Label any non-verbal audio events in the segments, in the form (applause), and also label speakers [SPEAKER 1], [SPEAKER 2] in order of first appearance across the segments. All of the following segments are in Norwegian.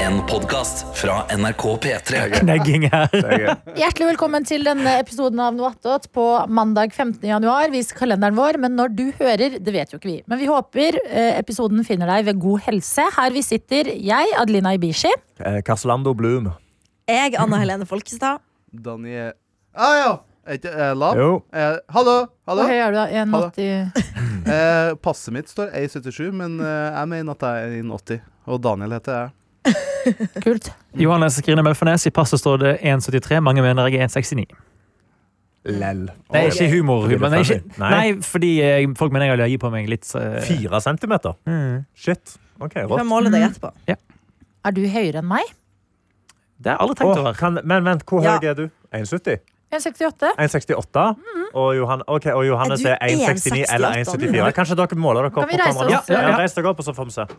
[SPEAKER 1] En podcast fra NRK P3
[SPEAKER 2] Knegging her.
[SPEAKER 3] Hjertelig velkommen til denne episoden av Noe attåt på mandag 15. januar. Vis kalenderen vår, men når du hører, det vet jo ikke vi. Men vi håper eh, episoden finner deg ved god helse. Her vi sitter, jeg, Adelina Ibishi.
[SPEAKER 2] Eh, Casolando Bloom.
[SPEAKER 4] Jeg, Anna Helene Folkestad.
[SPEAKER 5] Danny er ah, ja. Er ikke er jeg lav?
[SPEAKER 2] Jo.
[SPEAKER 5] Er jeg- hallo! hallo.
[SPEAKER 3] Hvor høy er du da?
[SPEAKER 5] Hallo.
[SPEAKER 3] 1,80?
[SPEAKER 5] Eh, passet mitt står 1,77, men eh, jeg mener at jeg er 1,80. Og Daniel heter jeg.
[SPEAKER 3] Kult.
[SPEAKER 2] Johannes Krine Mølfernes. I passet står det 1,73. Mange mener jeg er 1,69.
[SPEAKER 6] Lell.
[SPEAKER 2] Det er ikke humor.
[SPEAKER 6] Fordi det er
[SPEAKER 2] humor. Nei,
[SPEAKER 6] funny.
[SPEAKER 2] ikke, nei, fordi eh, folk mener jeg har løyet på meg litt. eh,
[SPEAKER 6] Fire centimeter?
[SPEAKER 2] Mm.
[SPEAKER 6] Shit. OK,
[SPEAKER 4] Du kan
[SPEAKER 6] rått.
[SPEAKER 4] måle
[SPEAKER 3] Mm.
[SPEAKER 4] deg etterpå.
[SPEAKER 3] Er du høyere enn meg?
[SPEAKER 2] Det har jeg aldri tenkt
[SPEAKER 6] Åh,
[SPEAKER 2] over.
[SPEAKER 6] kan, men vent, hvor
[SPEAKER 4] Ja.
[SPEAKER 6] høy er du? 1,70?
[SPEAKER 3] 1,68?
[SPEAKER 6] 1,68? Og, Johan, ok, og Johannes
[SPEAKER 4] Er
[SPEAKER 6] er
[SPEAKER 4] du
[SPEAKER 6] 1,69 eller 1,74. Kanskje dere måler dere
[SPEAKER 3] Kan
[SPEAKER 6] opp
[SPEAKER 3] vi
[SPEAKER 6] på
[SPEAKER 3] reise
[SPEAKER 6] kamera? nå?
[SPEAKER 3] oss?
[SPEAKER 6] Ja,
[SPEAKER 2] Ja, ja.
[SPEAKER 6] reis dere opp, og så får vi se.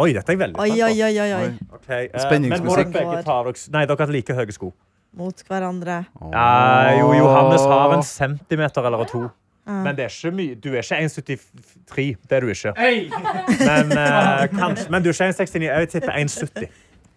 [SPEAKER 6] Oi, dette er jeg veldig
[SPEAKER 4] Oi, oi,
[SPEAKER 6] spent på.
[SPEAKER 4] oi, oi, oi.
[SPEAKER 5] Oi.
[SPEAKER 6] Okay, eh, men må dere
[SPEAKER 5] Spenningsmusikk.
[SPEAKER 6] begge ta av dere Nei, dere har like høye sko.
[SPEAKER 4] Mot hverandre.
[SPEAKER 6] Ja, jo, Johannes har en centimeter eller to. Men det er ikke mye. du er ikke 1,73. Det er du ikke. Men, eh, kanskje, men du er ikke 1,69. Jeg vil tippe 1,70.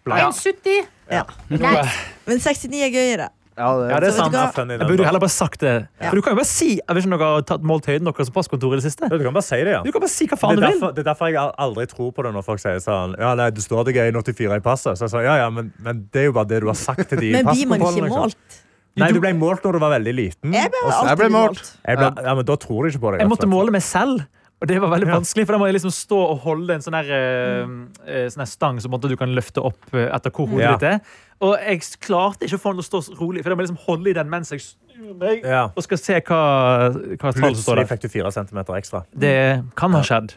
[SPEAKER 6] Blank.
[SPEAKER 3] 1,70?
[SPEAKER 4] Ja.
[SPEAKER 3] Greit.
[SPEAKER 4] Men 69 er gøyere.
[SPEAKER 5] Ja, det,
[SPEAKER 6] Ja, det er
[SPEAKER 4] Så vet
[SPEAKER 6] sant.
[SPEAKER 4] du hva?
[SPEAKER 6] det er funny,
[SPEAKER 2] Jeg
[SPEAKER 6] den,
[SPEAKER 2] burde jo
[SPEAKER 6] da.
[SPEAKER 2] heller bare sagt det. For du kan jo bare si Jeg vet ikke om dere har tatt målt høyden deres på passkontoret i det siste.
[SPEAKER 6] Ja, Du kan bare si det, ja.
[SPEAKER 2] Du kan bare si hva
[SPEAKER 6] Det
[SPEAKER 2] faen
[SPEAKER 6] er,
[SPEAKER 2] du vil.
[SPEAKER 6] derfor, det er derfor jeg al- aldri tror på det når folk sier sånn Ja, nei, du står deg i 84 i passet. Så jeg sa, ja, ja, men, men det er jo bare det du har sagt til de i
[SPEAKER 4] (laughs) Men blir man
[SPEAKER 6] passkontrollen,
[SPEAKER 4] ikke
[SPEAKER 6] liksom.
[SPEAKER 4] målt?
[SPEAKER 6] Nei, du ble målt når du var veldig liten.
[SPEAKER 4] Jeg ble
[SPEAKER 6] og så-
[SPEAKER 5] Mm. Altså, Jeg
[SPEAKER 4] alltid
[SPEAKER 5] ble målt.
[SPEAKER 4] målt.
[SPEAKER 6] jeg ble, ja, men da tror de ikke på deg. rett
[SPEAKER 2] Jeg
[SPEAKER 6] og
[SPEAKER 2] måtte
[SPEAKER 6] slett.
[SPEAKER 2] måle meg selv. Og det var veldig
[SPEAKER 6] Ja.
[SPEAKER 2] vanskelig, for da må jeg liksom stå og holde en sånn her, eh, eh, sånn her stang som på en måte du kan løfte opp eh, etter hvor hodet
[SPEAKER 6] Ja.
[SPEAKER 2] ditt er. Og jeg s- klarte ikke å få den til å stå så rolig, for da må jeg liksom holde i den mens jeg snur meg
[SPEAKER 6] Ja.
[SPEAKER 2] og skal se hva, hva tallet som står
[SPEAKER 6] Plutselig
[SPEAKER 2] der.
[SPEAKER 6] fikk du 4 cm ekstra.
[SPEAKER 2] Det kan ha skjedd.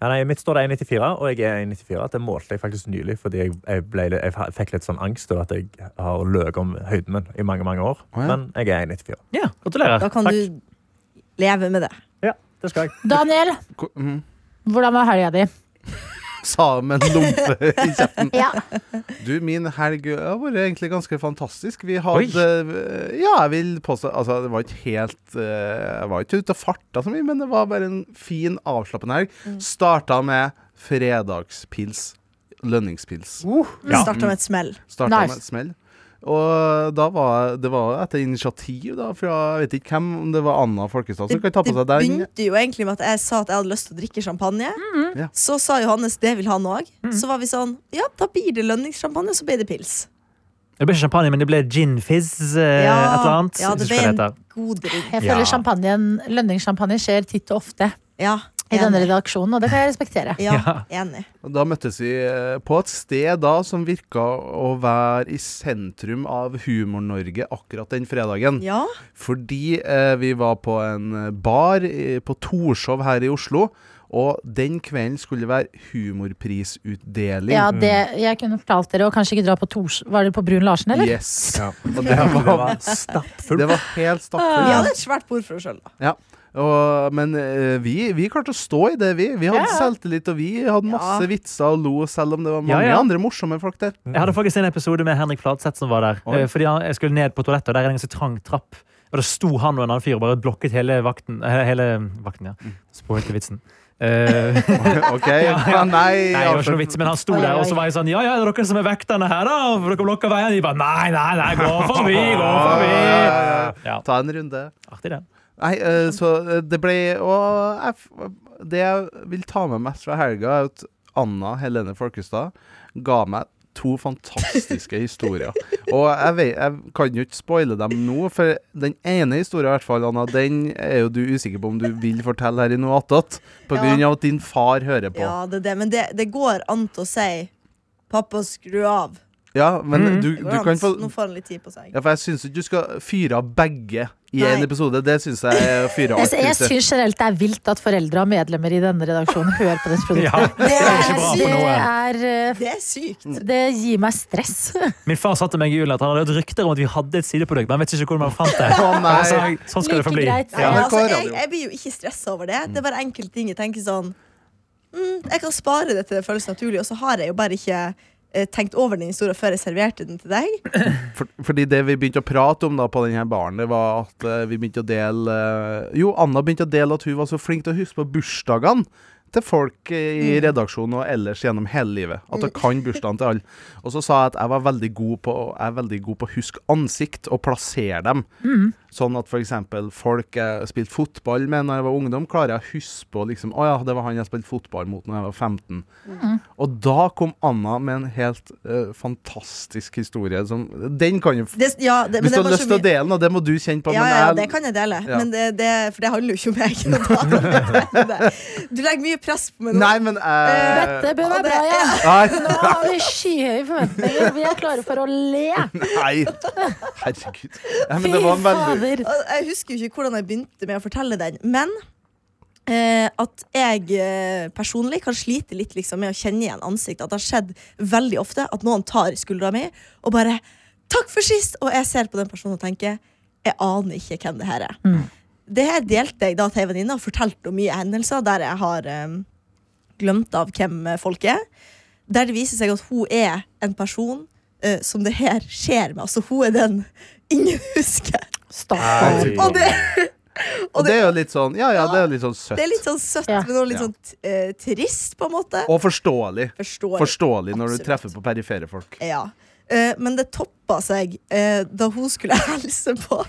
[SPEAKER 6] Ja, nei, I mitt står det 1,94, og jeg er 1,94. Det målte jeg faktisk nylig, fordi jeg, jeg, ble, litt- jeg fikk litt sånn angst over at jeg har løyet om høyden min i mange, mange år.
[SPEAKER 5] Å, ja.
[SPEAKER 6] Men jeg er 1,94.
[SPEAKER 2] Ja, gratulerer.
[SPEAKER 4] Da kan
[SPEAKER 6] Takk.
[SPEAKER 4] du leve med det.
[SPEAKER 6] Ja, det skal jeg.
[SPEAKER 3] Daniel,
[SPEAKER 5] Mhm.
[SPEAKER 3] hvordan var helga di?
[SPEAKER 5] Sa med en lompe i kjeften.
[SPEAKER 3] Ja.
[SPEAKER 5] Du, min helg har vært egentlig ganske fantastisk. Vi
[SPEAKER 2] Oi.
[SPEAKER 5] hadde eh, Ja, jeg vil påstå Altså, det var ikke helt eh, Jeg var ikke ute og farta så mye, men det var bare en fin, avslappende helg. Starta med fredagspils. Lønningspils.
[SPEAKER 4] Vi starter med et smell.
[SPEAKER 5] Starta
[SPEAKER 3] Nice.
[SPEAKER 5] med et smell. Og da var det var etter initiativ da, fra jeg vet ikke hvem, om det var Anna Folkestad som kan ta på
[SPEAKER 4] det
[SPEAKER 5] seg den.
[SPEAKER 4] begynte jo egentlig med at jeg sa at jeg hadde lyst til å drikke champagne.
[SPEAKER 3] Mm.
[SPEAKER 5] Ja.
[SPEAKER 4] Så sa Johannes det vil han òg. Så var vi sånn ja, da blir det lønningssjampanje, så blir det pils.
[SPEAKER 2] Det ble ikke champagne, men det ble gin fizz. eh,
[SPEAKER 4] Ja,
[SPEAKER 2] et eller annet.
[SPEAKER 4] ja,
[SPEAKER 2] Jeg
[SPEAKER 4] det
[SPEAKER 2] husker hva
[SPEAKER 4] ble
[SPEAKER 2] det
[SPEAKER 4] en
[SPEAKER 2] heter.
[SPEAKER 4] god drink.
[SPEAKER 3] Jeg føler
[SPEAKER 6] Ja.
[SPEAKER 3] champagnen, lønningssjampanje skjer titt og ofte
[SPEAKER 4] Ja,
[SPEAKER 3] i denne
[SPEAKER 4] enig.
[SPEAKER 3] redaksjonen, og det kan jeg respektere.
[SPEAKER 4] Ja, enig.
[SPEAKER 5] Og Da møttes vi eh, på et sted da som virka å være i sentrum av Humor-Norge akkurat den fredagen.
[SPEAKER 4] Ja,
[SPEAKER 5] Fordi eh, vi var på en eh, bar i, på Torshov her i Oslo, og den kvelden skulle det være humorprisutdeling.
[SPEAKER 3] Ja, det, jeg kunne fortalt dere, og kanskje ikke dra på Tors... Var dere på Brun Larsen, eller?
[SPEAKER 5] Yes.
[SPEAKER 6] Ja. (laughs)
[SPEAKER 5] Og det var,
[SPEAKER 6] stappfullt.
[SPEAKER 5] det var helt
[SPEAKER 4] Vi
[SPEAKER 5] stappfullt.
[SPEAKER 4] hadde et svært bord for oss sjøl, da.
[SPEAKER 5] Ja. Og, men eh, vi, vi klarte å stå i det, vi. Vi hadde selvtillit, og vi hadde masse vitser og lo, selv om det var
[SPEAKER 2] Ja,
[SPEAKER 5] mange
[SPEAKER 2] ja.
[SPEAKER 5] andre morsomme folk
[SPEAKER 2] (laughs)
[SPEAKER 5] der.
[SPEAKER 2] Jeg hadde faktisk en episode med Henrik Fladseth som var der.
[SPEAKER 5] Oi.
[SPEAKER 2] Eh, Fordi han, Jeg skulle ned på toalettet, og der er det en så trang trapp. Og da sto han og en annen fyr og bare blokket hele vakten. eh, Hele vakten, ja. Spoilte vitsen. (laughs) Eh,
[SPEAKER 5] OK? Ja, (laughs)
[SPEAKER 2] nei, det var
[SPEAKER 5] nei,
[SPEAKER 2] ikke
[SPEAKER 5] altså.
[SPEAKER 2] noe vits, men han sto der, og så var jeg sånn Ja, ja, er det dere som er vekterne her, da? Og dere blokker veien? De bare Nei, nei, nei, gå forbi, gå forbi. Ja,
[SPEAKER 5] Ta en runde.
[SPEAKER 2] artig, det.
[SPEAKER 5] Nei, eh, så eh, det ble Og jeg, f- det jeg vil ta med mest fra helga, er at Anna Helene Folkestad ga meg to fantastiske (laughs) historier. Og jeg, vet, jeg kan jo ikke spoile dem nå, for den ene historien i hvert fall, Anna, den er jo du usikker på om du vil fortelle her i noe attåt, på
[SPEAKER 4] Ja.
[SPEAKER 5] grunn av at din far hører på.
[SPEAKER 4] Ja,
[SPEAKER 5] Ja,
[SPEAKER 4] det er det. Men det, det går an til å si 'pappa, skru av'.
[SPEAKER 5] men du,
[SPEAKER 4] Det
[SPEAKER 5] du
[SPEAKER 4] går an.
[SPEAKER 5] kan få
[SPEAKER 4] Nå får han litt tid på seg.
[SPEAKER 5] Ja, for jeg syns ikke du skal fyre av begge i
[SPEAKER 4] Nei.
[SPEAKER 5] en episode. Det syns jeg er å fyre alt
[SPEAKER 3] Altså, jeg
[SPEAKER 5] ute.
[SPEAKER 3] syns generelt det er vilt at foreldre og medlemmer i denne redaksjonen hører på dette produktet.
[SPEAKER 2] Ja, (laughs) det er ikke bra for
[SPEAKER 3] det,
[SPEAKER 2] noe.
[SPEAKER 3] er,
[SPEAKER 4] Det er sykt.
[SPEAKER 5] Mm.
[SPEAKER 3] eh, det gir meg stress.
[SPEAKER 2] Min far sa til meg i julen at han hadde hørt rykter om at vi hadde et sideprodukt, men han vet ikke hvordan man fant det.
[SPEAKER 5] (laughs) Å, nei.
[SPEAKER 2] Og så sa jeg, Sånn skal det
[SPEAKER 3] Like
[SPEAKER 2] forbli.
[SPEAKER 3] greit.
[SPEAKER 4] Nei,
[SPEAKER 5] men
[SPEAKER 4] altså,
[SPEAKER 5] hva er
[SPEAKER 4] jeg,
[SPEAKER 5] radio?
[SPEAKER 4] jeg blir jo ikke stressa over det.
[SPEAKER 5] Mm.
[SPEAKER 4] Det er bare enkelte ting jeg tenker sånn mm, Jeg kan spare det til det føles naturlig, og så har jeg jo bare ikke eh, tenkt over den historien før jeg serverte den til deg.
[SPEAKER 5] For, fordi det vi begynte å prate om da på denne baren, det var at eh, vi begynte å dele eh, Jo, Anna begynte å dele at hun var så flink til å huske på bursdagene til folk
[SPEAKER 4] Mm.
[SPEAKER 5] i redaksjonen og ellers gjennom hele livet. At jeg kan bursdagen til alle. Og så sa jeg at jeg var veldig god på Jeg er veldig god på å huske ansikt og plassere dem.
[SPEAKER 4] Mm.
[SPEAKER 5] Sånn at f.eks. folk jeg spilte fotball med når jeg var ungdom, klarer jeg å huske på liksom, Å ja, det var han jeg spilte fotball mot når jeg var 15.
[SPEAKER 4] Mm.
[SPEAKER 5] Og da kom Anna med en helt eh, fantastisk historie som Den kan jo f-
[SPEAKER 4] Det, ja, det, men
[SPEAKER 5] Hvis
[SPEAKER 4] det
[SPEAKER 5] du har
[SPEAKER 4] var så
[SPEAKER 5] lyst til å
[SPEAKER 4] mye-
[SPEAKER 5] dele den, og det må du kjenne på
[SPEAKER 4] Ja,
[SPEAKER 5] men
[SPEAKER 4] ja, ja,
[SPEAKER 5] jeg-
[SPEAKER 4] det kan jeg dele,
[SPEAKER 5] Ja.
[SPEAKER 4] men det, det, for det handler jo ikke om meg. og (laughs)
[SPEAKER 5] (laughs)
[SPEAKER 4] da- Du legger mye press på meg nå.
[SPEAKER 5] Nei, men eh,
[SPEAKER 3] Dette bør være
[SPEAKER 4] det-
[SPEAKER 3] bra, ja.
[SPEAKER 5] Nei,
[SPEAKER 3] Nå har vi skyhøye forventninger. Vi er klare for å le.
[SPEAKER 5] nei. Herregud. Nei, men
[SPEAKER 3] Fy
[SPEAKER 5] det var en veldig
[SPEAKER 3] fader.
[SPEAKER 4] Og Jeg husker jo ikke hvordan jeg begynte med å fortelle den, men eh, at jeg eh, personlig kan slite litt liksom, med å kjenne igjen ansikt. At det har skjedd veldig ofte at noen tar skuldra mi og bare 'Takk for sist!' Og jeg ser på den personen og tenker 'Jeg aner ikke hvem det her er'. Det her delte jeg da til ei venninne og fortalte om mye hendelser der jeg har eh, glemt av hvem eh, folk er. Der det viser seg at hun er en person eh, som det her skjer med. Altså, hun er den ingen husker.
[SPEAKER 3] Stakkar.
[SPEAKER 4] Og det,
[SPEAKER 5] Og det er jo litt sånn Ja, ja, det er jo litt sånn søtt.
[SPEAKER 4] det er litt sånn søtt,
[SPEAKER 3] Ja.
[SPEAKER 4] men også litt
[SPEAKER 5] Ja.
[SPEAKER 4] sånn t- eh, trist, på en måte.
[SPEAKER 5] Og forståelig.
[SPEAKER 4] Forstår.
[SPEAKER 5] Forståelig når du
[SPEAKER 4] Absolutt.
[SPEAKER 5] treffer på perifere folk.
[SPEAKER 4] Ja. Eh, men det toppa seg eh, da hun skulle (laughs) hilse på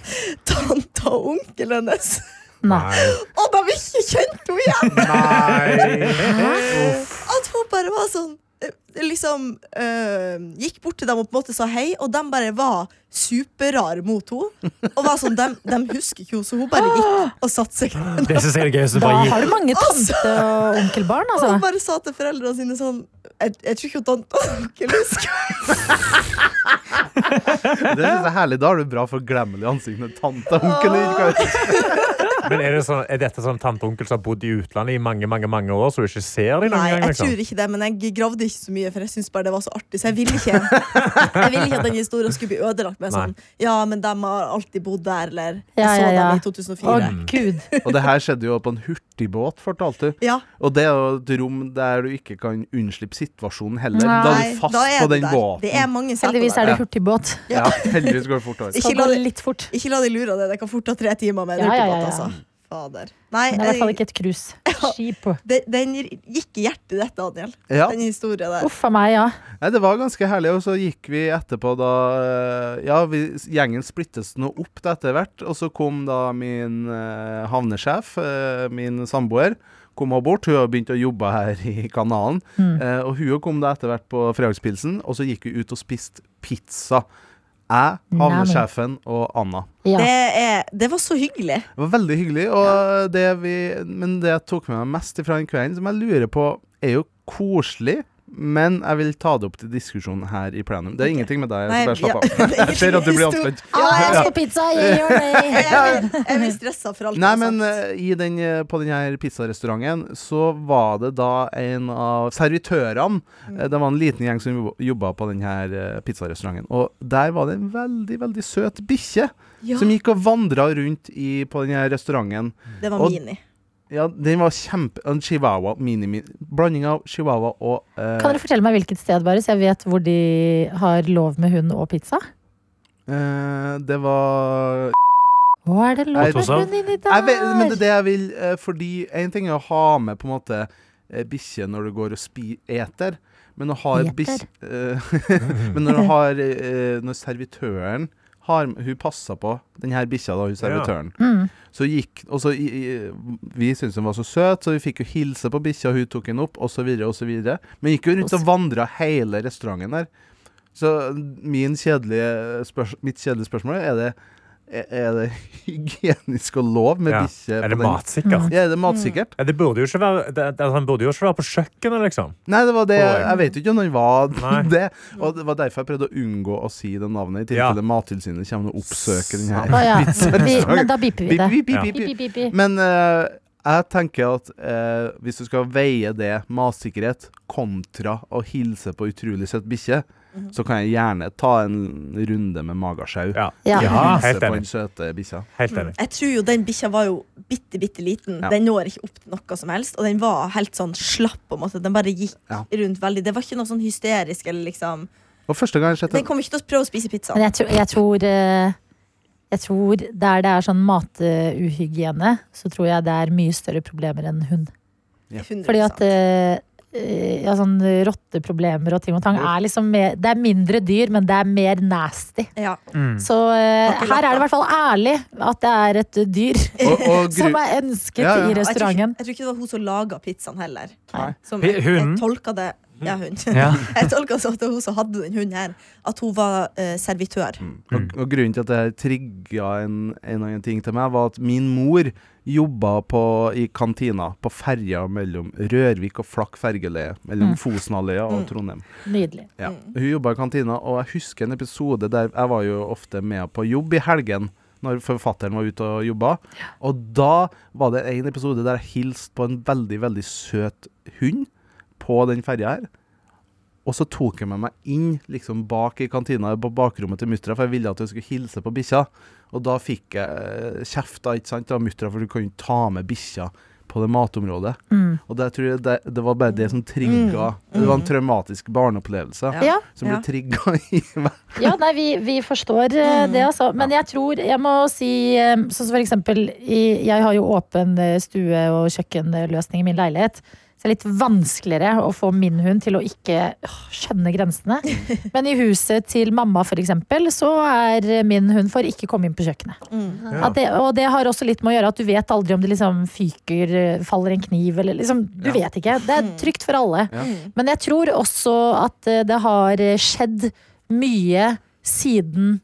[SPEAKER 4] tante og onkelen hennes.
[SPEAKER 6] Nei.
[SPEAKER 4] Og de ikke kjente henne igjen! At hun bare var sånn eh, Liksom eh, gikk bort til dem og på en måte sa hei, og de bare var superrare mot henne. Og var sånn, de, husker ikke henne, så hun bare gikk og satte seg ned.
[SPEAKER 2] Det synes jeg er det gøyeste.
[SPEAKER 3] Da
[SPEAKER 2] Bare gi
[SPEAKER 3] har du mange tante- og onkelbarn,
[SPEAKER 4] Og hun
[SPEAKER 3] altså.
[SPEAKER 4] bare sa til foreldrene sine sånn Jeg, jeg tror ikke at tante (laughs) og onkel husker
[SPEAKER 5] Det synes jeg er herlig. Da har du bra forglemmelig ansikt når tante og onkel ikke kan
[SPEAKER 6] Men er, det sånn, er dette sånn tante og onkel som har bodd i utlandet i mange mange, mange år, så du ikke ser dem noen
[SPEAKER 4] Nei,
[SPEAKER 6] gang?
[SPEAKER 4] jeg
[SPEAKER 6] Liksom?
[SPEAKER 4] tror ikke det, men jeg gravde ikke så mye, for jeg syntes bare det var så artig. Så jeg ville
[SPEAKER 5] (laughs)
[SPEAKER 4] ikke, jeg ville ikke at den historien skulle bli ødelagt med sånn Ja, men de har alltid bodd der, eller Jeg
[SPEAKER 3] Ja,
[SPEAKER 4] så
[SPEAKER 3] ja, ja.
[SPEAKER 4] dem i
[SPEAKER 3] Å,
[SPEAKER 4] 2004.
[SPEAKER 2] Mm.
[SPEAKER 3] gud.
[SPEAKER 5] Og det her skjedde jo på en hurtigbåt, fortalte du.
[SPEAKER 4] Ja,
[SPEAKER 5] Og det er jo et rom der du ikke kan unnslippe situasjonen heller.
[SPEAKER 3] Nei,
[SPEAKER 5] da
[SPEAKER 4] nei,
[SPEAKER 5] er du fast
[SPEAKER 4] da er
[SPEAKER 5] på
[SPEAKER 4] det
[SPEAKER 5] den
[SPEAKER 4] der.
[SPEAKER 5] båten.
[SPEAKER 4] Det er mange seter
[SPEAKER 3] Heldigvis er
[SPEAKER 4] der.
[SPEAKER 3] det hurtigbåt.
[SPEAKER 5] Ja, heldigvis går det fortere.
[SPEAKER 4] Ikke
[SPEAKER 3] Skal
[SPEAKER 4] la
[SPEAKER 3] gå
[SPEAKER 4] det-
[SPEAKER 3] litt fort.
[SPEAKER 4] Ikke la deg lure av det. Det kan fort ta tre timer med en
[SPEAKER 3] Ja, ja,
[SPEAKER 4] hurtigbåt,
[SPEAKER 3] ja, ja.
[SPEAKER 4] altså. Fader. Nei,
[SPEAKER 3] Men det er i hvert fall
[SPEAKER 4] jeg,
[SPEAKER 3] ikke et cruise. Skip.
[SPEAKER 4] den, den gikk i hjertet ditt, Daniel.
[SPEAKER 5] Ja.
[SPEAKER 4] Den historien der.
[SPEAKER 3] Uff a meg, ja.
[SPEAKER 5] Nei, det var ganske herlig, og så gikk vi etterpå da eh, Ja, vi, gjengen splittes nå opp da etter hvert, og så kom da min eh, havnesjef, eh, min samboer, kom hun bort. Hun har begynt å jobbe her i kanalen, eh, og hun kom da etter hvert på fredagspilsen, og så gikk vi ut og spiste pizza. Jeg, havnesjefen og Anna.
[SPEAKER 3] ja.
[SPEAKER 4] Det, er, det var så hyggelig.
[SPEAKER 5] Det var veldig hyggelig, og det vi, men det jeg tok med meg mest fra den kvelden, som jeg lurer på, er jo koselig. Men jeg vil ta det opp til diskusjon her i plenum. Det er ingenting med deg. Jeg skal Eh,
[SPEAKER 4] (laughs)
[SPEAKER 5] bare slappe av. Jeg ser at du blir anspent.
[SPEAKER 3] Ja, Ah, jeg skal på pizza, jeg gjør det.
[SPEAKER 4] Jeg blir- jeg blir stressa for alt.
[SPEAKER 5] Nei,
[SPEAKER 4] jeg har
[SPEAKER 5] men
[SPEAKER 4] sagt.
[SPEAKER 5] eh, i den, eh, på denne pizzarestauranten så var det da en av servitørene eh, Det var en liten gjeng som jobba- jobba på denne pizzarestauranten. Og der var det en veldig, veldig søt bikkje
[SPEAKER 4] Ja.
[SPEAKER 5] som gikk og vandra rundt i, på denne restauranten.
[SPEAKER 4] Det var
[SPEAKER 5] Og-
[SPEAKER 4] Mini.
[SPEAKER 5] Ja, den var kjempe... En chihuahua mini-mini. Blanding av chihuahua og eh,
[SPEAKER 3] Kan dere fortelle meg hvilket sted, bare, så jeg vet hvor de har lov med hund og pizza?
[SPEAKER 5] eh, Det var
[SPEAKER 3] Å, er det lov
[SPEAKER 5] Jeg-
[SPEAKER 3] med hund inni
[SPEAKER 5] jeg vet, men det er
[SPEAKER 3] der?
[SPEAKER 5] det jeg vil eh, Fordi en ting er å ha med på en måte eh, bikkje når du går og spi eter, men å ha et
[SPEAKER 3] Eter?
[SPEAKER 5] bikkje (laughs) Men når, du har, eh, når servitøren har, Hun passa på den her bikkja, da, hun servitøren.
[SPEAKER 3] Mm.
[SPEAKER 5] Så gikk Og så i, i, Vi syntes hun var så søt, så vi fikk jo hilse på bikkja, hun tok henne opp, osv., osv. Men gikk jo rundt og vandra hele restauranten der. Så min kjedelige spørs, mitt kjedelige spørsmål er det er- Er det hygienisk og lov med
[SPEAKER 6] Ja.
[SPEAKER 5] bikkje? på
[SPEAKER 6] Er det
[SPEAKER 5] den-
[SPEAKER 6] matsikkert?
[SPEAKER 4] Mm.
[SPEAKER 5] Ja, er det matsikkert?
[SPEAKER 6] Ja, det burde jo ikke være, det, det, han burde jo ikke være på kjøkkenet, liksom.
[SPEAKER 5] Nei, det var det
[SPEAKER 6] Oi.
[SPEAKER 5] Jeg vet jo ikke om den var
[SPEAKER 6] Nei.
[SPEAKER 5] (laughs) det. Og det var derfor jeg prøvde å unngå å si det navnet, i
[SPEAKER 6] Ja.
[SPEAKER 5] tilfelle Mattilsynet kommer og oppsøker den her.
[SPEAKER 3] Å, ja. vi, men da biper vi
[SPEAKER 5] Pip,
[SPEAKER 3] det.
[SPEAKER 5] pip, pip,
[SPEAKER 6] Ja.
[SPEAKER 5] pip, pip.
[SPEAKER 3] Pip, pip, pip.
[SPEAKER 5] Men eh, jeg tenker at eh, hvis du skal veie det matsikkerhet kontra å hilse på utrolig søt bikkje, så kan jeg gjerne ta en runde med magasjau.
[SPEAKER 6] Ja,
[SPEAKER 3] Ja.
[SPEAKER 5] Hilse
[SPEAKER 6] helt
[SPEAKER 5] på den
[SPEAKER 6] enig.
[SPEAKER 5] søte bikkja.
[SPEAKER 6] Helt enig.
[SPEAKER 4] Jeg tror jo den bikkja var jo bitte, bitte liten.
[SPEAKER 5] Ja.
[SPEAKER 4] Den når ikke opp til noe som helst, og den var helt sånn slapp. på en måte Den bare gikk
[SPEAKER 5] Ja.
[SPEAKER 4] rundt veldig. Det var ikke noe sånn hysterisk. Eller liksom
[SPEAKER 5] Og første gang jeg har sett
[SPEAKER 4] Den
[SPEAKER 5] det
[SPEAKER 4] kom ikke til å prøve å spise pizza.
[SPEAKER 3] Men jeg tror, jeg tror eh, jeg tror der det er sånn matuhygiene, så tror jeg det er mye større problemer enn hund. Fordi at eh, eh, ja, sånn rotteproblemer og ting og tang er liksom mer, Det er mindre dyr, men det er mer nasty.
[SPEAKER 4] ja.
[SPEAKER 2] Mm.
[SPEAKER 3] Så eh, her er det i hvert fall ærlig at det er et dyr
[SPEAKER 5] Og, og gru-
[SPEAKER 3] (laughs) som er ønsket
[SPEAKER 5] Ja,
[SPEAKER 3] i
[SPEAKER 5] ja.
[SPEAKER 4] Jeg tror, ikke,
[SPEAKER 3] restauranten.
[SPEAKER 4] jeg tror ikke det var hun som laga pizzaen heller.
[SPEAKER 5] Nei.
[SPEAKER 4] Som
[SPEAKER 2] Pi-
[SPEAKER 4] jeg, jeg
[SPEAKER 2] hunden?
[SPEAKER 4] tolka det Ja, hun.
[SPEAKER 2] Ja.
[SPEAKER 4] (laughs) jeg tolka det at det var hun som hadde den hunden her, at hun var eh, servitør.
[SPEAKER 5] Mm. og, og grunnen til at det her trigga en, en annen ting til meg, var at min mor jobba på, i kantina på ferja mellom Rørvik og Flakk fergeleie, mellom Fosenhalvøya og Trondheim.
[SPEAKER 3] Nydelig.
[SPEAKER 5] Ja. Hun jobba i kantina, og jeg husker en episode der jeg var jo ofte med på jobb i helgen. Når forfatteren var ute og jobba. Og da var det en episode der jeg hilste på en veldig veldig søt hund på den ferja her. Og så tok jeg med meg inn liksom bak i kantina på bakrommet til muttra, for jeg ville at hun skulle hilse på bikkja. Og da fikk jeg eh, kjeft da, ikke sant, av muttra, for du kan jo ikke ta med bikkja på det matområdet. Og det, tror jeg det, det var bare det som trigga Det var en traumatisk barneopplevelse
[SPEAKER 3] Mm. Ja.
[SPEAKER 5] som ble
[SPEAKER 4] Ja.
[SPEAKER 5] trigga i (laughs) meg.
[SPEAKER 3] Ja, nei, vi, vi forstår eh, det, altså. Men jeg tror Jeg må si eh, sånn som for eksempel i, Jeg har jo åpen eh, stue- og kjøkkenløsning i min leilighet. Så det er litt vanskeligere å få min hund til å ikke øh, skjønne grensene. Men i huset til mamma, for eksempel, så er eh, min hund for ikke komme inn på kjøkkenet. At det, og det har også litt med å gjøre at du vet aldri om det liksom fyker, eh, faller en kniv eller liksom Du vet ikke. Det er trygt for alle. Men jeg tror også at eh, det har eh, skjedd mye siden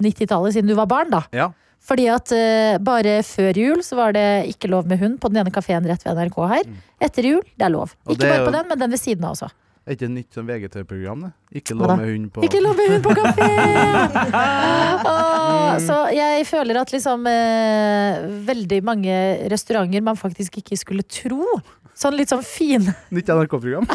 [SPEAKER 3] 90-tallet, siden du var barn, da.
[SPEAKER 5] Ja.
[SPEAKER 3] Fordi at eh, bare før jul så var det ikke lov med hund på den ene kafeen rett ved NRK her. Etter jul, det er lov.
[SPEAKER 5] Mm. Og
[SPEAKER 3] ikke
[SPEAKER 5] det er
[SPEAKER 3] bare på
[SPEAKER 5] jo-
[SPEAKER 3] den, men den ved siden av også.
[SPEAKER 5] Er ikke det nytt som VGT-program, det? Ikke
[SPEAKER 3] Hva da?
[SPEAKER 5] lov med hund på
[SPEAKER 3] Ikke lov med hund på
[SPEAKER 5] (laughs)
[SPEAKER 3] kafé! Åh, så jeg føler at liksom eh, veldig mange restauranter man faktisk ikke skulle tro. Sånn litt sånn fine
[SPEAKER 5] Nytt NRK-program.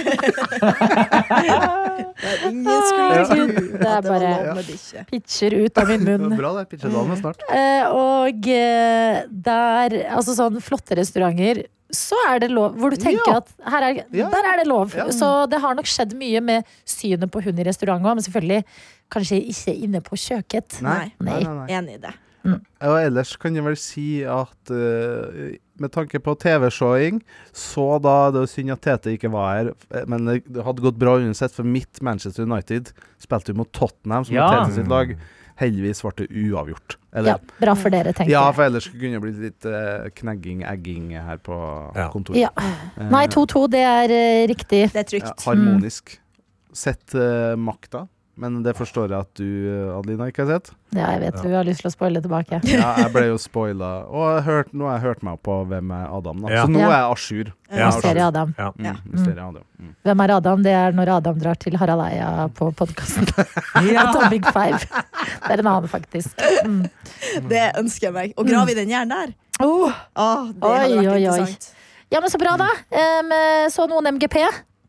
[SPEAKER 4] Der ingen skulle tro
[SPEAKER 3] Herregud, Ah. Det
[SPEAKER 4] at
[SPEAKER 3] er
[SPEAKER 4] det var
[SPEAKER 3] bare
[SPEAKER 4] lov med bikkje.
[SPEAKER 3] pitcher ut av min munn.
[SPEAKER 5] Bra, (laughs) (laughs) det. Pitchedalen er snart.
[SPEAKER 3] Eh, og eh, der, altså sånn flotte restauranter, så er det lov. Hvor du tenker
[SPEAKER 5] Ja.
[SPEAKER 3] at her er,
[SPEAKER 5] Ja.
[SPEAKER 3] der er det lov.
[SPEAKER 5] Ja.
[SPEAKER 3] Så det har nok skjedd mye med synet på hund i restaurant òg, men selvfølgelig kanskje ikke inne på kjøkket.
[SPEAKER 5] Nei. Nei, nei, nei.
[SPEAKER 4] Enig i det.
[SPEAKER 5] Og ellers kan jeg vel si at eh, med tanke på TV-showing, så da Det var synd at Tete ikke var her, eh, men det det hadde gått bra uansett, for mitt Manchester United spilte jo mot Tottenham, som
[SPEAKER 2] Ja.
[SPEAKER 5] var Tete sitt lag. Heldigvis ble det uavgjort.
[SPEAKER 3] Ja,
[SPEAKER 5] Eller
[SPEAKER 3] bra for dere, tenker
[SPEAKER 5] Ja,
[SPEAKER 3] jeg.
[SPEAKER 5] for ellers kunne det blitt litt eh, knegging, egging her på
[SPEAKER 6] Ja.
[SPEAKER 5] kontoret. Eh,
[SPEAKER 3] Ja. Nei, 2-2, det er eh, riktig.
[SPEAKER 4] Det er trygt.
[SPEAKER 5] Ja, harmonisk. Sett eh, makta, men det forstår jeg at du, eh, Adelina, ikke har sett.
[SPEAKER 3] (laughs) Ja, jeg vet du har lyst til å spoile tilbake.
[SPEAKER 5] Ja, jeg ble jo spoila. Og jeg hørte- nå har jeg hørt meg opp på hvem er Adam, da.
[SPEAKER 6] Ja.
[SPEAKER 5] Så nå
[SPEAKER 3] Ja.
[SPEAKER 5] er jeg à jour.
[SPEAKER 4] Ja,
[SPEAKER 3] Mysteriet Adam.
[SPEAKER 5] Mm,
[SPEAKER 4] Ja.
[SPEAKER 5] mysteriet Adam. Mm.
[SPEAKER 3] Hvem er Adam? Det er når Adam drar til Harald Eia på (laughs) podkasten. Tom Big Five. Det er en annen, faktisk. Mm.
[SPEAKER 4] Det ønsker jeg meg. Å grave i den hjernen der,
[SPEAKER 3] Oh.
[SPEAKER 4] Åh, det hadde
[SPEAKER 3] Oi,
[SPEAKER 4] vært
[SPEAKER 3] oi, oi.
[SPEAKER 4] interessant.
[SPEAKER 3] Ja, men så bra, da. Em, eh, så noen MGP.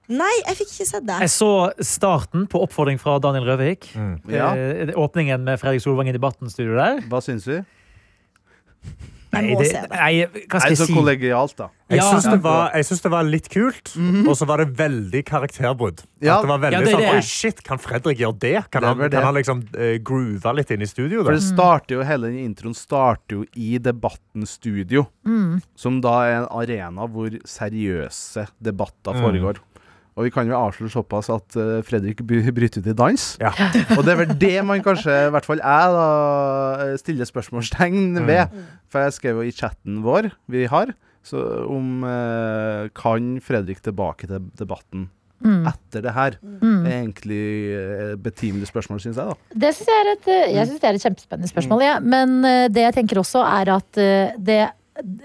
[SPEAKER 4] Nei, jeg fikk ikke sett det.
[SPEAKER 2] Jeg så starten på oppfordring fra Daniel Røvik.
[SPEAKER 5] Mm. Ja.
[SPEAKER 2] Eh, Åpningen med Fredrik Solvang i Debatten-studio der.
[SPEAKER 5] Hva syns vi?
[SPEAKER 4] Jeg må se det.
[SPEAKER 2] nei, hva skal
[SPEAKER 5] Nei,
[SPEAKER 2] jeg
[SPEAKER 5] så
[SPEAKER 2] si?
[SPEAKER 5] kollegialt, da.
[SPEAKER 6] Jeg
[SPEAKER 2] Ja.
[SPEAKER 6] syns det, var- jeg syns det var litt kult, og så var det veldig karakterbrudd.
[SPEAKER 5] Mhm. Ja.
[SPEAKER 6] At det var veldig
[SPEAKER 2] Ja, det er
[SPEAKER 6] sånn,
[SPEAKER 2] det.
[SPEAKER 6] Oi, shit, Kan Fredrik gjøre det? Kan
[SPEAKER 5] Det
[SPEAKER 6] han,
[SPEAKER 5] var det.
[SPEAKER 6] Kan han liksom eh, groove litt inn i studio?
[SPEAKER 5] For
[SPEAKER 6] Da?
[SPEAKER 5] det starter jo, hele den introen starter jo i Debatten studio, som da er en arena hvor seriøse debatter foregår. Og vi kan jo avsløre såpass at eh, Fredrik by- bryter ut i dans.
[SPEAKER 6] Ja.
[SPEAKER 5] Og det er vel det man kanskje, i hvert fall jeg, da, eh, stiller spørsmålstegn ved. For jeg skrev jo i chatten vår vi har, så om eh, Kan Fredrik tilbake til debatten etter det her? Det er egentlig eh, betimelig spørsmål, syns jeg, da.
[SPEAKER 3] Det syns jeg er et, eh, jeg synes det er et kjempespennende spørsmål. Ja. Men eh, det jeg tenker også, er at eh, det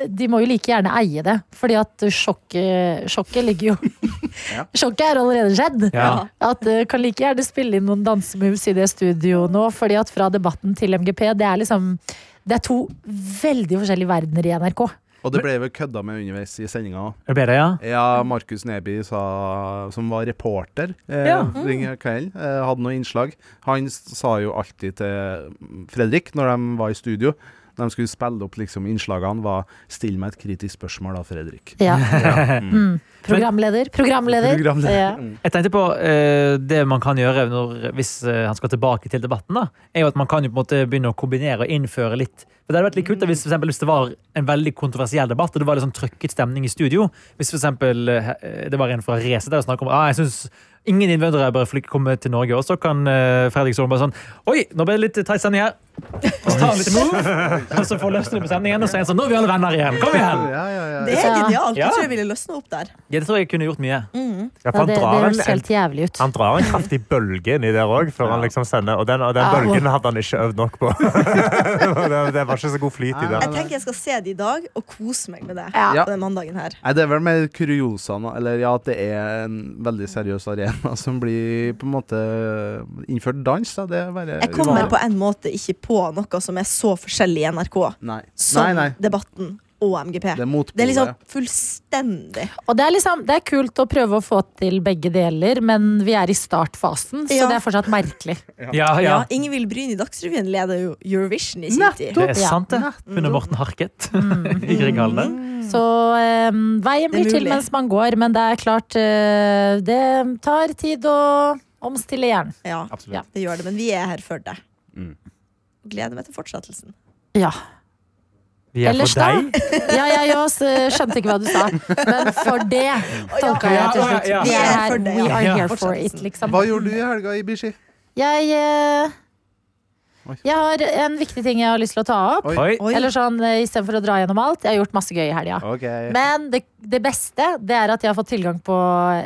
[SPEAKER 3] de må jo like gjerne eie det, fordi at sjokket, sjokket (laughs) ligger jo Sjokket er allerede skjedd.
[SPEAKER 2] Ja.
[SPEAKER 3] At eh, Kan like gjerne spille inn noen dansemoves i det studioet nå, fordi at fra Debatten til MGP, det er liksom Det er to veldig forskjellige verdener i NRK.
[SPEAKER 5] Og det ble vel kødda med underveis i sendinga òg.
[SPEAKER 2] Er det bedre, ja?
[SPEAKER 5] Ja, Markus Neby sa, som var reporter eh,
[SPEAKER 2] Ja.
[SPEAKER 4] Mm.
[SPEAKER 5] den kvelden, eh, hadde noen innslag. Han s- sa jo alltid til mm, Fredrik, når de var i studio, når de skulle spille opp liksom, innslagene, var 'still meg et kritisk spørsmål da, Fredrik'.
[SPEAKER 3] Ja. (laughs) Mm. Programleder, programleder.
[SPEAKER 5] Programleder.
[SPEAKER 3] Ja.
[SPEAKER 2] Jeg tenkte på eh, det man kan gjøre når, hvis eh, han skal tilbake til debatten, da, er jo at man kan jo på en måte begynne å kombinere og innføre litt Men det hadde vært litt kult da, hvis, for eksempel, hvis det var en veldig kontroversiell debatt, og det var litt sånn trøkket stemning i studio. Hvis for eksempel, eh, det var en fra Resett der som snakket om ah, jeg synes ingen innvandrere bør fly- komme til Norge. Og så kan eh, Fredrik Solen bare sånn Oi, nå ble det litt teit sending her. Og så tar han litt move, og så får løsne på sendingen, og så er han sånn Nå er vi alle venner igjen. Kom igjen!
[SPEAKER 5] Ja, ja, ja.
[SPEAKER 4] Det er
[SPEAKER 3] Ja.
[SPEAKER 4] genialt.
[SPEAKER 6] Ja.
[SPEAKER 4] Jeg tror jeg ville løsna opp der.
[SPEAKER 2] Ja, det tror jeg kunne gjort mye.
[SPEAKER 6] Ja,
[SPEAKER 3] Ja,
[SPEAKER 6] for han
[SPEAKER 3] det, det
[SPEAKER 6] drar en,
[SPEAKER 3] høres helt jævlig ut.
[SPEAKER 6] han drar en kraftig bølge inni der òg, før han liksom sender. Og den, og den
[SPEAKER 3] Ja, og-
[SPEAKER 6] bølgen hadde han ikke øvd nok på. (laughs) det, det var ikke så god flyt
[SPEAKER 5] Ah.
[SPEAKER 6] i
[SPEAKER 4] Jeg
[SPEAKER 6] den.
[SPEAKER 4] tenker jeg skal se det i dag og kose meg med det.
[SPEAKER 5] Ja.
[SPEAKER 4] På den mandagen her
[SPEAKER 5] Nei, det er vel mer kuriosa nå, eller ja, at det er en veldig seriøs arena (laughs) som blir på en måte eh, innført dans, da. Det er bare
[SPEAKER 4] Jeg kommer
[SPEAKER 5] uvanlig.
[SPEAKER 4] på en måte ikke på noe som er så forskjellig i NRK
[SPEAKER 5] Nei.
[SPEAKER 4] som
[SPEAKER 5] nei, nei.
[SPEAKER 4] debatten og MGP.
[SPEAKER 5] Det er motpolet.
[SPEAKER 4] Det er liksom fullstendig
[SPEAKER 3] Og det er, liksom, det er kult å prøve å få til begge deler, men vi er i startfasen, så
[SPEAKER 4] Ja.
[SPEAKER 3] det er fortsatt merkelig.
[SPEAKER 2] Ja,
[SPEAKER 4] ja.
[SPEAKER 2] ja.
[SPEAKER 4] Ingvild Bryn i Dagsrevyen leder jo Eurovision i sin tid.
[SPEAKER 2] Det er
[SPEAKER 3] Ja. Mm.
[SPEAKER 2] sant, det. Hun og Morten
[SPEAKER 3] (laughs)
[SPEAKER 2] Harket (laughs) i Grieghallen.
[SPEAKER 3] Så eh, veien
[SPEAKER 4] Mm. Det er
[SPEAKER 3] blir til
[SPEAKER 4] mulig.
[SPEAKER 3] mens man går, men det er klart eh, Det tar tid å omstille hjernen.
[SPEAKER 4] Ja,
[SPEAKER 3] Ja.
[SPEAKER 4] det gjør det, men vi er her for deg.
[SPEAKER 6] Mm.
[SPEAKER 4] Gleder meg til fortsettelsen.
[SPEAKER 3] Ja.
[SPEAKER 2] Vi er
[SPEAKER 3] Ellers
[SPEAKER 2] for deg.
[SPEAKER 3] (laughs) Ja, jeg også skjønte ikke hva du sa, men for det tolka jeg til slutt.
[SPEAKER 2] Ja, ja, ja.
[SPEAKER 3] Vi er her,
[SPEAKER 4] for det,
[SPEAKER 3] we
[SPEAKER 4] ja.
[SPEAKER 3] are
[SPEAKER 2] Ja.
[SPEAKER 3] here for it, liksom.
[SPEAKER 5] Hva gjorde du i helga, Ibishi?
[SPEAKER 3] Jeg, eh,
[SPEAKER 5] Oi.
[SPEAKER 3] jeg har en viktig ting jeg har lyst til å ta opp.
[SPEAKER 5] Oi.
[SPEAKER 2] Oi.
[SPEAKER 4] Oi.
[SPEAKER 3] Eller sånn, eh, Istedenfor å dra gjennom alt. Jeg har gjort masse gøy i helga.
[SPEAKER 5] OK.
[SPEAKER 3] Men det, det beste det er at jeg har fått tilgang på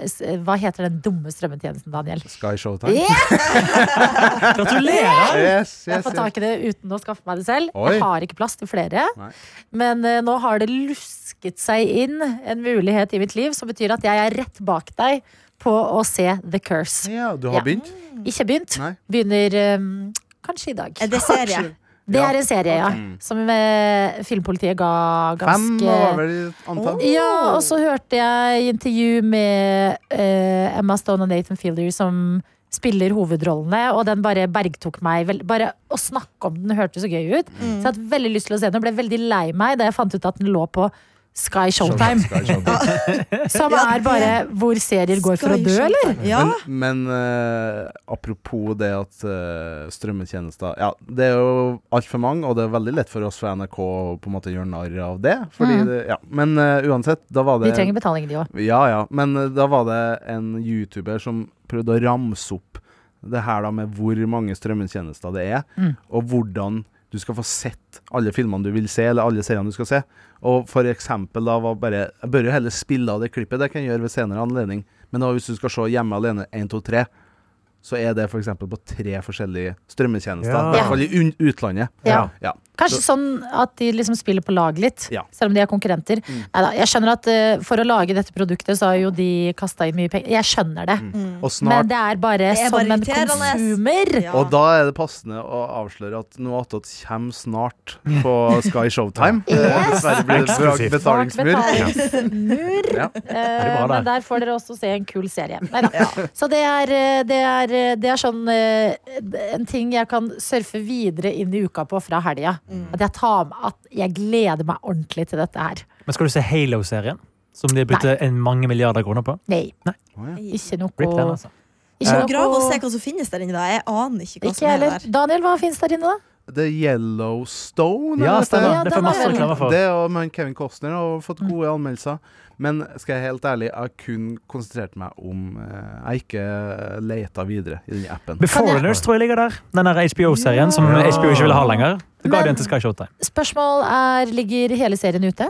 [SPEAKER 3] s- Hva heter den dumme strømmetjenesten, Daniel?
[SPEAKER 5] Sky Showtime.
[SPEAKER 3] Ja!
[SPEAKER 5] (laughs)
[SPEAKER 2] Gratulerer!
[SPEAKER 5] Yes,
[SPEAKER 3] Jeg
[SPEAKER 5] yes,
[SPEAKER 3] får
[SPEAKER 5] yes.
[SPEAKER 3] tak i det uten å skaffe meg det selv.
[SPEAKER 5] Oi.
[SPEAKER 3] Jeg har ikke plass til flere.
[SPEAKER 5] Nei.
[SPEAKER 3] Men eh, nå har det lusket seg inn en mulighet i mitt liv som betyr at jeg er rett bak deg på å se The Curse.
[SPEAKER 5] Ja, du
[SPEAKER 3] Ja.
[SPEAKER 5] har begynt?
[SPEAKER 3] Ikke begynt.
[SPEAKER 5] Nei.
[SPEAKER 3] Begynner eh, kanskje i dag.
[SPEAKER 4] Er det serie?
[SPEAKER 3] Det er en serie, ja. Som eh, filmpolitiet ga
[SPEAKER 5] Fem
[SPEAKER 3] ganske
[SPEAKER 5] var vel ditt antall?
[SPEAKER 3] Ja, og så hørte jeg intervju med eh, Emma Stone og Nathan Fielder som spiller hovedrollene, og den bare bergtok meg. Vel, bare å snakke om den hørtes så gøy ut.
[SPEAKER 4] Mm.
[SPEAKER 3] Så jeg hadde veldig lyst til å se den, og ble veldig lei meg da jeg fant ut at den lå på Sky Showtime.
[SPEAKER 5] Sky Showtime.
[SPEAKER 3] Som
[SPEAKER 4] Ja,
[SPEAKER 3] er
[SPEAKER 4] det-
[SPEAKER 3] bare hvor serier går for å dø, eller?
[SPEAKER 4] Ja.
[SPEAKER 5] Men, men eh, apropos det at eh, strømmetjenester Ja, det er jo altfor mange, og det er veldig lett for oss fra NRK å på en måte gjøre narr av det. Fordi det ja. Men eh, uansett, da var
[SPEAKER 3] De
[SPEAKER 5] det
[SPEAKER 3] Mm. trenger betaling, de òg.
[SPEAKER 5] Ja ja. Men eh, da var det en YouTuber som prøvde å ramse opp det her da med hvor mange strømmetjenester det er, og hvordan du skal få sett alle filmene du vil se, eller alle seriene du skal se. Og for eksempel da var bare Jeg bør jo heller spille av det klippet, det kan jeg gjøre ved senere anledning. Men da hvis du skal se Hjemme alene 1, 2, 3, så er det f.eks. på tre forskjellige strømmetjenester.
[SPEAKER 6] Ja.
[SPEAKER 5] I hvert fall i un utlandet.
[SPEAKER 3] Ja.
[SPEAKER 5] Ja.
[SPEAKER 3] Kanskje sånn at de liksom spiller på lag litt,
[SPEAKER 5] Ja.
[SPEAKER 3] selv om de er konkurrenter.
[SPEAKER 2] Mm.
[SPEAKER 3] Neida, jeg skjønner at eh, For å lage dette produktet så har jo de kasta inn mye penger. Jeg skjønner det.
[SPEAKER 2] Mm.
[SPEAKER 5] Og
[SPEAKER 3] Men
[SPEAKER 5] snart
[SPEAKER 3] det er bare
[SPEAKER 4] Det er
[SPEAKER 3] som
[SPEAKER 4] bare
[SPEAKER 3] en
[SPEAKER 4] irriterende.
[SPEAKER 3] konsumer.
[SPEAKER 4] Ja.
[SPEAKER 5] Og da er det passende å avsløre at noe attåt kommer snart på Sky Showtime.
[SPEAKER 3] Yes.
[SPEAKER 5] Dessverre blir det bra
[SPEAKER 6] Eksklusivt.
[SPEAKER 3] Bak
[SPEAKER 5] betalingsmur.
[SPEAKER 3] betalingsmur.
[SPEAKER 5] Ja.
[SPEAKER 3] Eh,
[SPEAKER 2] bra,
[SPEAKER 3] men
[SPEAKER 2] det.
[SPEAKER 3] der får dere også se en kul serie.
[SPEAKER 2] (laughs)
[SPEAKER 3] Neida. Så det er, eh, det, er, eh, det er sånn eh, en ting jeg kan surfe videre inn i uka på fra helga.
[SPEAKER 4] Mm.
[SPEAKER 3] At jeg tar med at jeg gleder meg ordentlig til dette her.
[SPEAKER 2] Men skal du se Halo-serien? Som de har brukt
[SPEAKER 3] Nei.
[SPEAKER 2] en mange milliarder kroner på?
[SPEAKER 3] Nei,
[SPEAKER 4] Ikke
[SPEAKER 3] ikke noe
[SPEAKER 2] Rip den, altså.
[SPEAKER 3] Ikke
[SPEAKER 4] grav og
[SPEAKER 3] noe
[SPEAKER 4] se hva som finnes der inne. da Jeg aner ikke hva
[SPEAKER 3] Ikke
[SPEAKER 4] som er
[SPEAKER 3] heller.
[SPEAKER 4] der.
[SPEAKER 3] Daniel, hva fins der inne, da?
[SPEAKER 5] The Yellowstone.
[SPEAKER 2] Ja,
[SPEAKER 5] eller hva
[SPEAKER 2] stemmer.
[SPEAKER 5] det
[SPEAKER 3] Ja,
[SPEAKER 2] det
[SPEAKER 3] den
[SPEAKER 2] får masse
[SPEAKER 3] er-
[SPEAKER 2] reklame
[SPEAKER 5] heter?
[SPEAKER 2] for.
[SPEAKER 5] Det og med Kevin Costner har fått gode anmeldelser. Men skal jeg helt ærlig, jeg har kun konsentrert meg om eh, Jeg har ikke leita videre i den appen.
[SPEAKER 2] The Foreigners tror jeg ligger der. Den der HBO-serien som
[SPEAKER 6] Ja.
[SPEAKER 2] HBO ikke ville ha lenger. Det ga
[SPEAKER 3] Men-
[SPEAKER 2] de en til Sky Showtime.
[SPEAKER 3] Spørsmål er Ligger hele serien ute?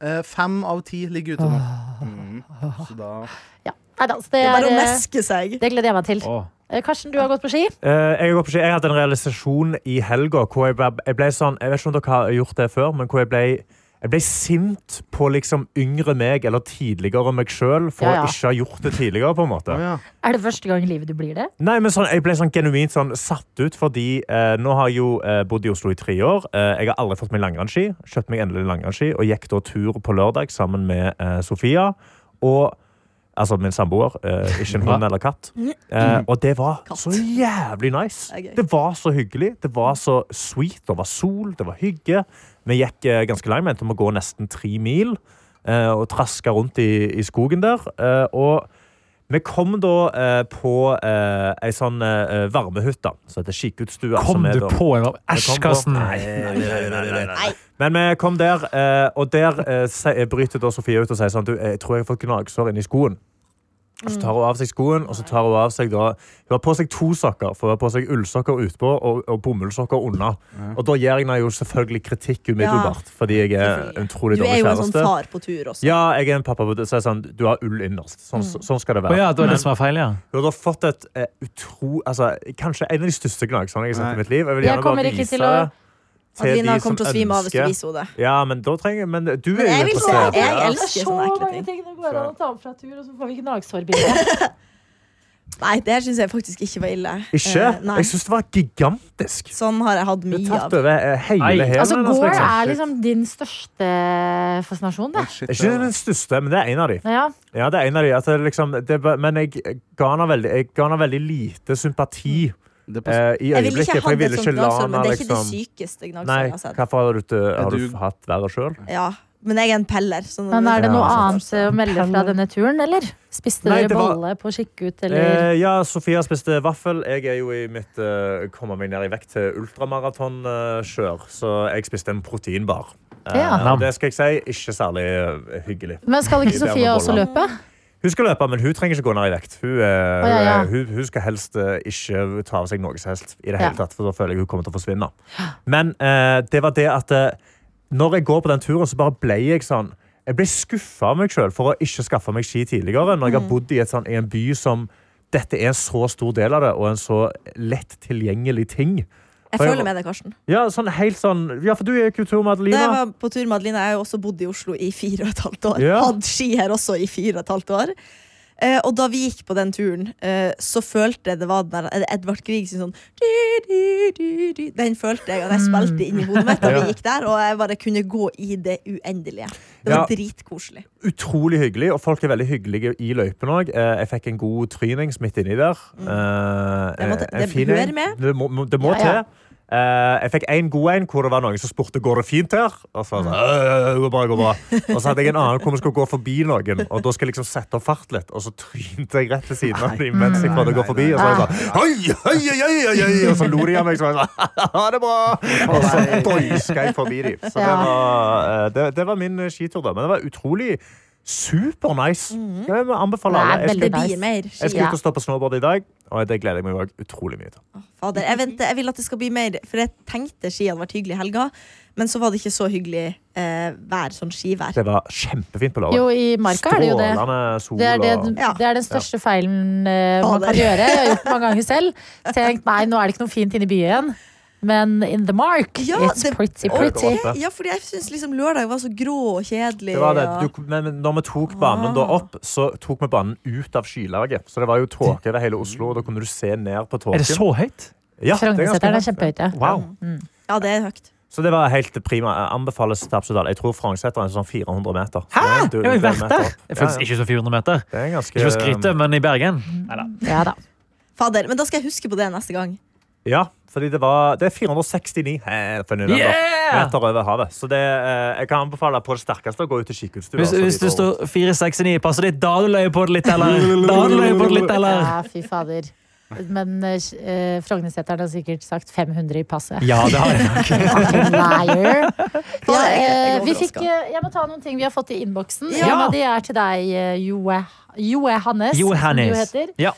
[SPEAKER 5] Eh, fem av ti ligger ute nå. Mm. Så da
[SPEAKER 3] Ja. Neida, så det,
[SPEAKER 4] Det er
[SPEAKER 3] er,
[SPEAKER 4] bare å
[SPEAKER 3] eh,
[SPEAKER 4] meske seg.
[SPEAKER 3] det gleder jeg meg til. Eh, Karsten, du har gått på ski.
[SPEAKER 6] Eh, jeg, går på ski. jeg hadde en realisasjon i helga hvor jeg ble, jeg ble sånn Jeg vet ikke om dere har gjort det før, men hvor jeg ble, jeg ble sint på liksom yngre meg eller tidligere meg sjøl for
[SPEAKER 3] Ja, ja.
[SPEAKER 6] å ikke ha gjort det tidligere. på en måte.
[SPEAKER 5] Å ja.
[SPEAKER 3] Er det første gang i livet du blir det?
[SPEAKER 6] Nei, men sånn, Jeg ble sånn genuint sånn satt ut, fordi eh, nå har jeg jo eh, bodd i Oslo i tre år. Eh, jeg har aldri fått meg langrennsski. Kjøpte meg endelig langrennsski og gikk da tur på lørdag sammen med eh, Sofia. Og Altså min samboer. Eh, ikke en hund eller katt. Eh, og det var så jævlig nice.
[SPEAKER 4] Mm. Det er gøy.
[SPEAKER 6] Det var så hyggelig. Det var så sweet. Det var sol, det var hygge. Vi gikk eh, ganske langt, vi endte med å gå nesten tre mil. Eh, og traska rundt i, i skogen der. Eh, og Vi kom da eh, på eh, ei sånn eh, varmehytte da, som heter Kikkutstua.
[SPEAKER 2] Kom
[SPEAKER 6] som er
[SPEAKER 2] du
[SPEAKER 6] da-
[SPEAKER 2] på en
[SPEAKER 6] Vi kom
[SPEAKER 2] Æsj,
[SPEAKER 6] på-
[SPEAKER 2] Karsten!
[SPEAKER 6] Nei, nei, nei, nei, nei, nei. Men vi kom der, eh, og der eh, se- bryter da Sofie ut og sier sånn Du, jeg tror jeg har fått gnagsår inni skoen. Og så tar hun av seg skoen, og så tar hun av seg da Hun har på seg to sokker. For hun har på seg ullsokker utpå og, og bomullsokker unna. Og da gir jeg henne jo selvfølgelig kritikk umiddelbart, fordi jeg er en
[SPEAKER 4] Du
[SPEAKER 6] utrolig
[SPEAKER 4] er
[SPEAKER 6] dårlig
[SPEAKER 4] jo en sånn Mm.
[SPEAKER 6] kjæreste.
[SPEAKER 4] far på tur også.
[SPEAKER 6] Ja, jeg er en pappa. Så er det sånn, du har ull innerst. Sånn, sånn skal det
[SPEAKER 2] Å
[SPEAKER 6] være.
[SPEAKER 2] ja, det var det som var feil, ja.
[SPEAKER 6] Hun har fått et eh, utro... Altså, kanskje en av de største gnagsårene jeg har sett i
[SPEAKER 5] Nei.
[SPEAKER 6] mitt liv. Jeg vil
[SPEAKER 3] Jeg
[SPEAKER 6] gjerne
[SPEAKER 3] kommer
[SPEAKER 6] bare
[SPEAKER 3] ikke
[SPEAKER 6] vise
[SPEAKER 3] til å-
[SPEAKER 6] til
[SPEAKER 4] Adelina
[SPEAKER 6] de som
[SPEAKER 4] kommer til å svime av hvis du
[SPEAKER 6] ønsker-
[SPEAKER 4] viser henne det.
[SPEAKER 6] Ja, men da trenger Men du er jo
[SPEAKER 4] Men jeg vil
[SPEAKER 6] interessert.
[SPEAKER 4] se- jeg
[SPEAKER 6] ja.
[SPEAKER 4] elsker sånne ekle ting.
[SPEAKER 3] det går an å ta opp fra tur, og så får vi gnagsårbilde.
[SPEAKER 4] Nei, det her syns jeg faktisk ikke var ille.
[SPEAKER 6] Ikke?
[SPEAKER 4] Eh, nei.
[SPEAKER 6] jeg syns det var gigantisk.
[SPEAKER 4] Sånn har jeg hatt
[SPEAKER 6] Det
[SPEAKER 4] mye
[SPEAKER 6] tatt
[SPEAKER 4] av.
[SPEAKER 6] over eh, hele
[SPEAKER 2] Nei.
[SPEAKER 6] hælen.
[SPEAKER 3] Altså,
[SPEAKER 6] hennes,
[SPEAKER 4] sånn
[SPEAKER 3] Gore
[SPEAKER 6] liksom.
[SPEAKER 3] er liksom din største fascinasjon, det.
[SPEAKER 5] Shit,
[SPEAKER 6] Det er ikke
[SPEAKER 5] ja.
[SPEAKER 6] den største, men det er en av de.
[SPEAKER 3] Ja.
[SPEAKER 6] Ja, det er en av de at det liksom, det, er bare- men jeg ga henne veldig, jeg ga henne veldig lite sympati
[SPEAKER 5] Det
[SPEAKER 6] eh,
[SPEAKER 5] passer.
[SPEAKER 6] i
[SPEAKER 4] Jeg ville ikke
[SPEAKER 6] øyeblikket. For jeg
[SPEAKER 4] hatt et
[SPEAKER 6] ville ikke
[SPEAKER 4] sånt
[SPEAKER 6] la
[SPEAKER 4] gnagsår, men
[SPEAKER 6] henne
[SPEAKER 4] det er ikke det
[SPEAKER 6] liksom
[SPEAKER 4] sykeste
[SPEAKER 6] Nei,
[SPEAKER 4] gnagsåret jeg har sett.
[SPEAKER 6] hvorfor har du, har
[SPEAKER 5] Er
[SPEAKER 6] du
[SPEAKER 5] du-
[SPEAKER 6] hatt verre sjøl?
[SPEAKER 4] Ja, men jeg er en peller. så når
[SPEAKER 3] Men
[SPEAKER 4] vi-
[SPEAKER 3] er det noe
[SPEAKER 6] Ja.
[SPEAKER 3] annet eh,
[SPEAKER 4] sånn.
[SPEAKER 3] å melde fra denne turen, eller? Spiste
[SPEAKER 6] Nei,
[SPEAKER 3] dere
[SPEAKER 6] det var-
[SPEAKER 3] bolle på Kikkut, eller?
[SPEAKER 6] Eh, ja, Sofia spiste vaffel. Jeg er jo i mitt eh, kommer meg ned i vekt til ultramaraton-kjør, så jeg spiste en proteinbar. Eh,
[SPEAKER 3] Ja.
[SPEAKER 6] og det skal jeg si, ikke særlig eh, hyggelig.
[SPEAKER 3] Men skal ikke
[SPEAKER 6] Det er med
[SPEAKER 3] Sofie også
[SPEAKER 6] boller.
[SPEAKER 3] løpe?
[SPEAKER 6] Hun skal løpe, men hun trenger ikke gå ned i vekt. Hun, eh, hun,
[SPEAKER 3] ja, ja.
[SPEAKER 6] er- hun, hun skal helst eh, ikke ta av seg noe som helst, i det
[SPEAKER 3] Ja.
[SPEAKER 6] hele tatt, for da føler jeg hun kommer til å forsvinne. Men eh, det var det at eh, når jeg går på den turen, så bare ble jeg sånn Jeg ble skuffa av meg sjøl for å ikke skaffe meg ski tidligere, når jeg
[SPEAKER 3] Mhm.
[SPEAKER 6] har bodd i, et, sånn, i en by som dette er en så stor del av det, og en så lett tilgjengelig ting.
[SPEAKER 4] Jeg føler med deg, Karsten.
[SPEAKER 6] Ja, sånn helt sånn Ja, for du er jo kultur med
[SPEAKER 4] Da jeg
[SPEAKER 6] Adelina.
[SPEAKER 4] var på tur med Adeline, jeg har jo også bodd i Oslo i fire og et halvt år.
[SPEAKER 6] Ja.
[SPEAKER 4] Hadde ski her også i fire og et halvt år. Eh, og da vi gikk på den turen, eh, så følte jeg det var den der er det Edvard Grieg sin sånn du, du, du, du. Den følte jeg, og jeg spilte inni hodet mitt da
[SPEAKER 6] Ja.
[SPEAKER 4] vi gikk der. Og jeg bare kunne gå i det uendelige. Det var
[SPEAKER 6] Ja.
[SPEAKER 4] dritkoselig.
[SPEAKER 6] utrolig hyggelig, og folk er veldig hyggelige i løypen òg. Jeg fikk en god trynings midt inni der. Eh,
[SPEAKER 4] Det Mm. måtte-
[SPEAKER 6] en
[SPEAKER 4] det
[SPEAKER 6] fin
[SPEAKER 4] hører
[SPEAKER 6] en.
[SPEAKER 4] med.
[SPEAKER 6] Det må, må- det må
[SPEAKER 3] Ja, ja.
[SPEAKER 6] til. Eh, jeg fikk en god en hvor det var noen som spurte går det fint her. Og så, var jeg sånn, «Øh, det går bra, det går bra. Og så hadde jeg en annen hvor vi skulle gå forbi noen, og da skal jeg liksom sette opp fart litt, og så trynte jeg rett ved siden av dem mens jeg prøvde å gå forbi. Og så var jeg sånn
[SPEAKER 4] Ah.
[SPEAKER 6] «Hei, hei, hei, hei, hei», og så lo de av meg, så var jeg sånn (laughs) ha det bra! Og så boiska jeg forbi dem. Så det
[SPEAKER 3] Ja.
[SPEAKER 6] var, eh, det, det var min eh, skitur, da. Men det var utrolig supernice. Jeg må anbefale
[SPEAKER 3] Mhm. Det
[SPEAKER 6] alle.
[SPEAKER 3] er
[SPEAKER 6] Jeg
[SPEAKER 3] veldig
[SPEAKER 4] Det
[SPEAKER 6] skal,
[SPEAKER 3] nice.
[SPEAKER 4] blir mer
[SPEAKER 6] jeg
[SPEAKER 4] ski.
[SPEAKER 6] skal ut og stå på snowboard i dag, og det gleder jeg meg også utrolig mye til.
[SPEAKER 4] Fader, jeg, venter, jeg vil at det skal bli mer, for jeg tenkte ski hadde vært hyggelig i helga, men så var det ikke så hyggelig eh, vær, sånn skivær.
[SPEAKER 6] Det var kjempefint på lørdag.
[SPEAKER 3] Jo, i marka er det jo det.
[SPEAKER 6] Strålende sol
[SPEAKER 3] Det er, det,
[SPEAKER 6] og
[SPEAKER 4] Ja.
[SPEAKER 3] det er den største feilen eh, man kan
[SPEAKER 4] Fader.
[SPEAKER 3] gjøre. Jeg har gjort det mange ganger selv. Tenkt nei, nå er det ikke noe fint inne i byen. Men in the mark,
[SPEAKER 4] Ja,
[SPEAKER 3] it's
[SPEAKER 4] det-
[SPEAKER 3] pretty,
[SPEAKER 6] Å, det var
[SPEAKER 3] pretty.
[SPEAKER 6] det.
[SPEAKER 4] Ja, fordi jeg syns liksom lørdag var så grå og kjedelig.
[SPEAKER 6] det var det.
[SPEAKER 4] og-
[SPEAKER 6] Du, men men når vi tok banen da opp, så tok vi banen ut av skylaget. Så det var jo tåke over hele Oslo, og da kunne du se ned på tåken.
[SPEAKER 2] Er det så høyt?
[SPEAKER 6] Ja, det er ganske
[SPEAKER 3] Frognerseteren er
[SPEAKER 6] høyt.
[SPEAKER 3] kjempehøyt, ja.
[SPEAKER 6] Wow.
[SPEAKER 4] Ja, det er høyt.
[SPEAKER 6] Så det var helt prima. Jeg anbefales til absolutt alle. Jeg tror Frognerseteren er sånn 400 meter. Så
[SPEAKER 2] Hæ?
[SPEAKER 6] det er en-
[SPEAKER 2] Jeg har jo vært
[SPEAKER 6] meter
[SPEAKER 2] der!
[SPEAKER 6] opp. Ja,
[SPEAKER 2] Det føles
[SPEAKER 6] ja.
[SPEAKER 2] ikke som 400 meter.
[SPEAKER 6] Det er ganske
[SPEAKER 2] Ikke for å skryte, men i Bergen.
[SPEAKER 3] ja da.
[SPEAKER 4] Fader, men da skal jeg huske på det neste gang.
[SPEAKER 6] Ja, fordi det var Det er 469 eh, for Nylander,
[SPEAKER 2] Yeah!
[SPEAKER 6] meter over havet. Så det, eh, jeg kan anbefale på det sterkeste å gå ut til Kikkutstua.
[SPEAKER 2] Hvis,
[SPEAKER 6] så de
[SPEAKER 2] hvis du
[SPEAKER 6] får-
[SPEAKER 2] står 469, passer det da du løy på det
[SPEAKER 6] (laughs)
[SPEAKER 2] litt, eller? Da du løy på det litt, eller?
[SPEAKER 3] Ja, fy fader. Men eh, Frognerseteren har sikkert sagt 500 i passet.
[SPEAKER 2] Ja,
[SPEAKER 3] (laughs)
[SPEAKER 2] det har jeg.
[SPEAKER 3] Liar. Ja,
[SPEAKER 4] jeg- jeg
[SPEAKER 3] eh,
[SPEAKER 4] er
[SPEAKER 3] vi fikk,
[SPEAKER 4] overrasket.
[SPEAKER 3] eh, jeg må ta noen ting vi har fått i innboksen.
[SPEAKER 2] Ja.
[SPEAKER 3] En av de er til deg, eh, Joe, Joe Hannes. som du
[SPEAKER 2] Johannes.
[SPEAKER 3] heter.
[SPEAKER 2] Ja.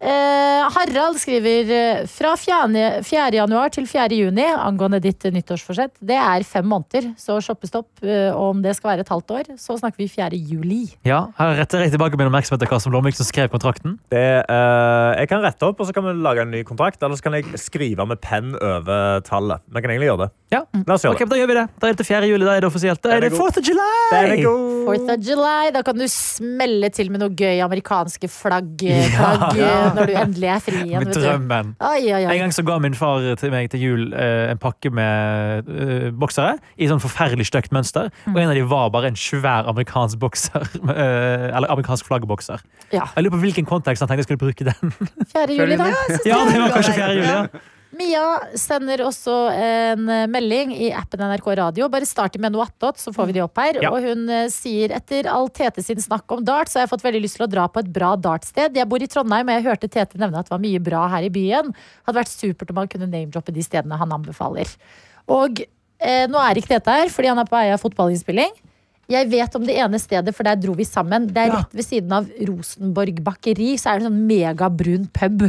[SPEAKER 3] Eh, Harald skriver eh, fra 4. 4. januar til 4. juni angående ditt eh, nyttårsforsett. Det er fem måneder, så shoppestopp. eh, Og om det skal være et halvt år, så snakker vi 4. juli.
[SPEAKER 2] ja. Her retter jeg tilbake min oppmerksomhet til Karsten Blomvik, som skrev kontrakten.
[SPEAKER 6] Det, eh, jeg kan rette opp, og så kan vi lage en ny kontrakt. Eller så kan jeg skrive med penn over tallet. Vi kan egentlig gjøre det.
[SPEAKER 2] Ja.
[SPEAKER 6] La oss gjøre
[SPEAKER 2] Ok, men Da gjør vi det. Da er det til 4. juli. Da er det offisielt. Da
[SPEAKER 6] Den
[SPEAKER 2] er
[SPEAKER 6] er
[SPEAKER 2] det
[SPEAKER 6] god.
[SPEAKER 2] 4.
[SPEAKER 6] det. Den er
[SPEAKER 2] juli!
[SPEAKER 6] god.
[SPEAKER 3] 4th of July, da kan du smelle til med noe gøy amerikanske flagg, eh, flagg eh, når du endelig er fri igjen.
[SPEAKER 2] Med
[SPEAKER 3] vet du.
[SPEAKER 2] drømmen.
[SPEAKER 3] Oi, oi, oi.
[SPEAKER 2] En gang så ga min far til meg til jul eh, en pakke med eh, boksere i sånn forferdelig stygt mønster. Og en av de var bare en svær amerikansk bokser. (laughs) eh, eller amerikansk flaggbokser.
[SPEAKER 3] Ja. (laughs)
[SPEAKER 2] Jeg lurer på hvilken kontekst han tenkte jeg skulle bruke den.
[SPEAKER 3] 4. juli, da.
[SPEAKER 4] Ja, jeg synes
[SPEAKER 2] Ja,
[SPEAKER 4] var
[SPEAKER 2] det var
[SPEAKER 4] bra,
[SPEAKER 2] kanskje
[SPEAKER 4] det.
[SPEAKER 2] 4. juli, ja.
[SPEAKER 3] Mia sender også en eh, melding i appen NRK Radio. Bare start med noe attåt, så får vi de opp her.
[SPEAKER 2] Ja.
[SPEAKER 3] Og hun eh, sier etter all Tete sin snakk om dart, så har jeg fått veldig lyst til å dra på et bra dartsted. Jeg bor i Trondheim, og jeg hørte Tete nevne at det var mye bra her i byen. Hadde vært supert om han kunne name-droppe de stedene han anbefaler. Og eh, nå er ikke Tete her, fordi han er på vei av fotballinnspilling. Jeg vet om det ene stedet, for der dro vi sammen. Det er rett ved siden av Rosenborg bakeri, så er det sånn megabrun pub.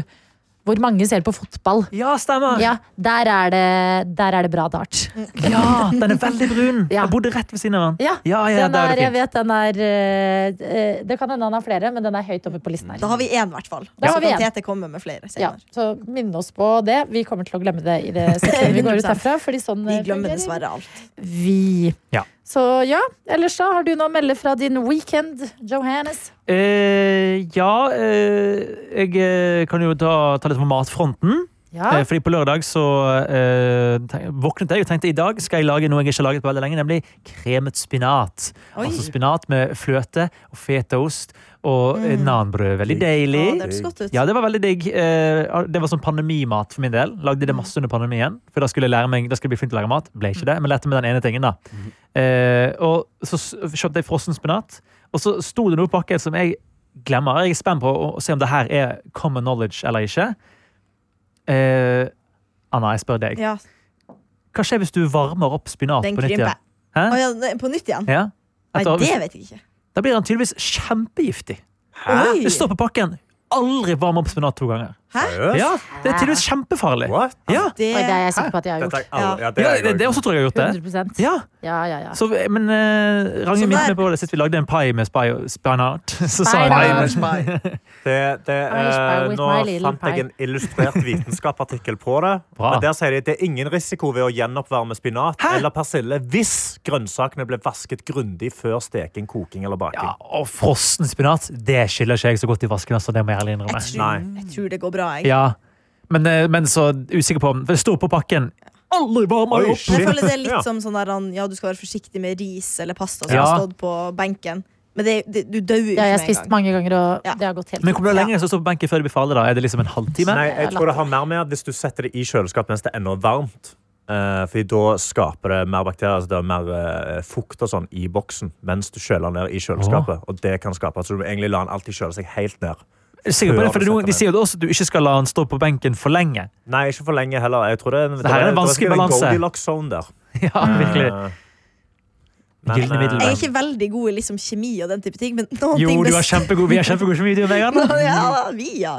[SPEAKER 3] Hvor mange ser på fotball.
[SPEAKER 2] Ja, stemmer!
[SPEAKER 3] (laughs) Ja, der er det, der er det bra dart.
[SPEAKER 2] Ja, den er veldig brun!
[SPEAKER 3] Ja.
[SPEAKER 2] Jeg bodde rett ved siden av den.
[SPEAKER 3] Ja,
[SPEAKER 2] ja, ja
[SPEAKER 3] den
[SPEAKER 2] der
[SPEAKER 3] er,
[SPEAKER 2] er det
[SPEAKER 3] jeg
[SPEAKER 2] fint.
[SPEAKER 3] vet den er eh, eh, Det kan hende han har flere, men den er høyt oppe på listen her.
[SPEAKER 4] Da har vi én, i hvert fall.
[SPEAKER 3] Da
[SPEAKER 4] Så
[SPEAKER 3] har vi
[SPEAKER 4] kan
[SPEAKER 3] en.
[SPEAKER 4] Tete komme med flere
[SPEAKER 3] Ja,
[SPEAKER 4] senere.
[SPEAKER 3] så minn oss på det. Vi kommer til å glemme det i det
[SPEAKER 4] (laughs)
[SPEAKER 3] sekundet vi går ut herfra. Fordi sånn
[SPEAKER 4] Vi
[SPEAKER 3] eh,
[SPEAKER 4] glemmer
[SPEAKER 3] fungerer
[SPEAKER 4] dessverre alt.
[SPEAKER 3] Vi.
[SPEAKER 2] Ja.
[SPEAKER 3] Så ja, ellers da har du noe å melde fra din weekend, Johannes.
[SPEAKER 2] Eh, ja, eh, jeg eh, kan jo ta, ta litt på matfronten.
[SPEAKER 3] Ja.
[SPEAKER 2] Eh, Fordi på lørdag så eh, tenk- våknet jeg og tenkte i dag skal jeg lage noe jeg ikke har laget på veldig lenge, nemlig kremet spinat.
[SPEAKER 4] Oi.
[SPEAKER 2] Altså spinat med fløte og fetaost og eh, nanbrød. Veldig deilig.
[SPEAKER 4] Mm. Ja, det høres godt ut.
[SPEAKER 2] Ja, det var veldig digg. Eh, Det var sånn pandemimat for min del. Lagde det
[SPEAKER 4] Mm.
[SPEAKER 2] masse under pandemien. For da skulle jeg lære meg, da skulle jeg bli flink til å lage mat. Ble ikke det, men lærte med den ene tingen, da.
[SPEAKER 4] Mm.
[SPEAKER 2] Eh, og så s- kjøpte jeg frossen spinat, og så sto det noe pakket som jeg glemmer. Jeg er spent på å å se om det her er common knowledge eller ikke. Eh, Anna, jeg spør deg.
[SPEAKER 4] Ja.
[SPEAKER 2] Hva skjer hvis du varmer opp spinat
[SPEAKER 4] Den
[SPEAKER 2] på nytt igjen?
[SPEAKER 4] krymper.
[SPEAKER 2] Hæ?
[SPEAKER 4] Å, ja, nei, på nytt igjen?
[SPEAKER 2] Ja.
[SPEAKER 4] Nei,
[SPEAKER 2] Etter-
[SPEAKER 4] det vet jeg ikke.
[SPEAKER 2] Da blir den tydeligvis kjempegiftig.
[SPEAKER 4] Oi.
[SPEAKER 2] Det står på pakken. Aldri varm opp spinat to ganger.
[SPEAKER 6] Seriøst?
[SPEAKER 2] Ja, det er tydeligvis kjempefarlig.
[SPEAKER 6] What?
[SPEAKER 2] Ja,
[SPEAKER 4] Det,
[SPEAKER 3] Oi, det er jeg sikker på at jeg har
[SPEAKER 6] Dette har jeg
[SPEAKER 3] gjort.
[SPEAKER 6] aldri- Ja, det
[SPEAKER 2] ja
[SPEAKER 6] har jeg
[SPEAKER 2] det, det
[SPEAKER 6] også.
[SPEAKER 2] også tror jeg jeg har gjort det.
[SPEAKER 3] 100
[SPEAKER 2] Ja,
[SPEAKER 3] Ja, ja, ja.
[SPEAKER 2] så, men uh,
[SPEAKER 4] Så
[SPEAKER 2] Ragnhild minte meg
[SPEAKER 4] der-
[SPEAKER 2] på det sist vi lagde en pai med spai og spinat. (laughs) Så sa jeg
[SPEAKER 3] Spinat.
[SPEAKER 2] Pai med-
[SPEAKER 6] Det, det,
[SPEAKER 3] I spy
[SPEAKER 6] eh,
[SPEAKER 3] with
[SPEAKER 6] nå
[SPEAKER 3] my little
[SPEAKER 6] fant jeg en
[SPEAKER 3] (laughs)
[SPEAKER 6] illustrert vitenskapartikkel på det.
[SPEAKER 2] Bra.
[SPEAKER 6] Men der sier de at det er ingen risiko ved å gjenoppvarme spinat eller persille hvis grønnsakene ble vasket grundig før steking, koking eller baking.
[SPEAKER 2] ja, og frossen spinat, det skiller ikke jeg så godt i vasken. Altså, det må jeg ærlig innrømme.
[SPEAKER 4] jeg,
[SPEAKER 6] Nei.
[SPEAKER 4] tror, jeg tror det går bra, jeg.
[SPEAKER 2] Ja, men, eh, men så usikker på om For det sto på pakken. Aldri varma
[SPEAKER 6] Oi,
[SPEAKER 2] opp!
[SPEAKER 4] Men jeg
[SPEAKER 6] shit.
[SPEAKER 4] føler det er
[SPEAKER 6] Ja.
[SPEAKER 4] litt som sånn der, han- ja, du skal være forsiktig med ris eller pasta som
[SPEAKER 2] Ja.
[SPEAKER 4] har stått på benken. Men det, det, du dør jo
[SPEAKER 3] Det
[SPEAKER 4] ikke
[SPEAKER 3] har jeg
[SPEAKER 4] med
[SPEAKER 3] spist
[SPEAKER 4] en gang.
[SPEAKER 3] mange ganger, og
[SPEAKER 4] Ja.
[SPEAKER 3] det har gått helt
[SPEAKER 2] Men kommer det lenger som står på benken før det blir farlig? da? Er det liksom en halvtime?
[SPEAKER 6] Nei, jeg tror det har mer med at hvis du setter det i kjøleskap mens det er ennå varmt. Uh, fordi da skaper det mer bakterier, altså det er mer eh, fukt og sånn i boksen mens du kjøler den ned i kjøleskapet. Og det kan skape, altså du må egentlig la den alltid kjøle seg helt ned.
[SPEAKER 2] Er du sikker på det? For det er noen,
[SPEAKER 6] Før du
[SPEAKER 2] de
[SPEAKER 6] setter
[SPEAKER 2] sier jo også at du ikke skal la den stå på benken for lenge. (laughs)
[SPEAKER 6] Nei, ikke for lenge heller. Jeg tror det,
[SPEAKER 2] Det her er en
[SPEAKER 6] det
[SPEAKER 2] vanskelig
[SPEAKER 6] det
[SPEAKER 2] balanse.
[SPEAKER 6] Goldilocks zone der.
[SPEAKER 2] Ja, virkelig.
[SPEAKER 6] Eh,
[SPEAKER 2] Gylne middelvei.
[SPEAKER 4] Jeg er ikke veldig god i liksom, kjemi og den type ting, men noen
[SPEAKER 2] Jo,
[SPEAKER 4] ting
[SPEAKER 2] du er
[SPEAKER 4] best-
[SPEAKER 2] kjempegod. Vi er kjempegode som video, (laughs) Megan.
[SPEAKER 4] (laughs) ja, vi, ja.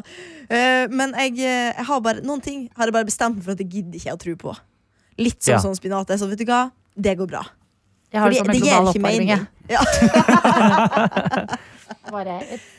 [SPEAKER 4] Eh, men jeg, eh, jeg har bare, noen ting har jeg bare bestemt meg for at jeg gidder ikke å tro på. Litt som
[SPEAKER 2] Ja.
[SPEAKER 4] sånn spinat. Så vet du hva, det går bra.
[SPEAKER 3] Jeg har det
[SPEAKER 4] Fordi
[SPEAKER 3] som en
[SPEAKER 4] det gir
[SPEAKER 3] global
[SPEAKER 4] ikke
[SPEAKER 3] oppvarming.
[SPEAKER 4] mening. Ja,
[SPEAKER 3] jeg. Bare,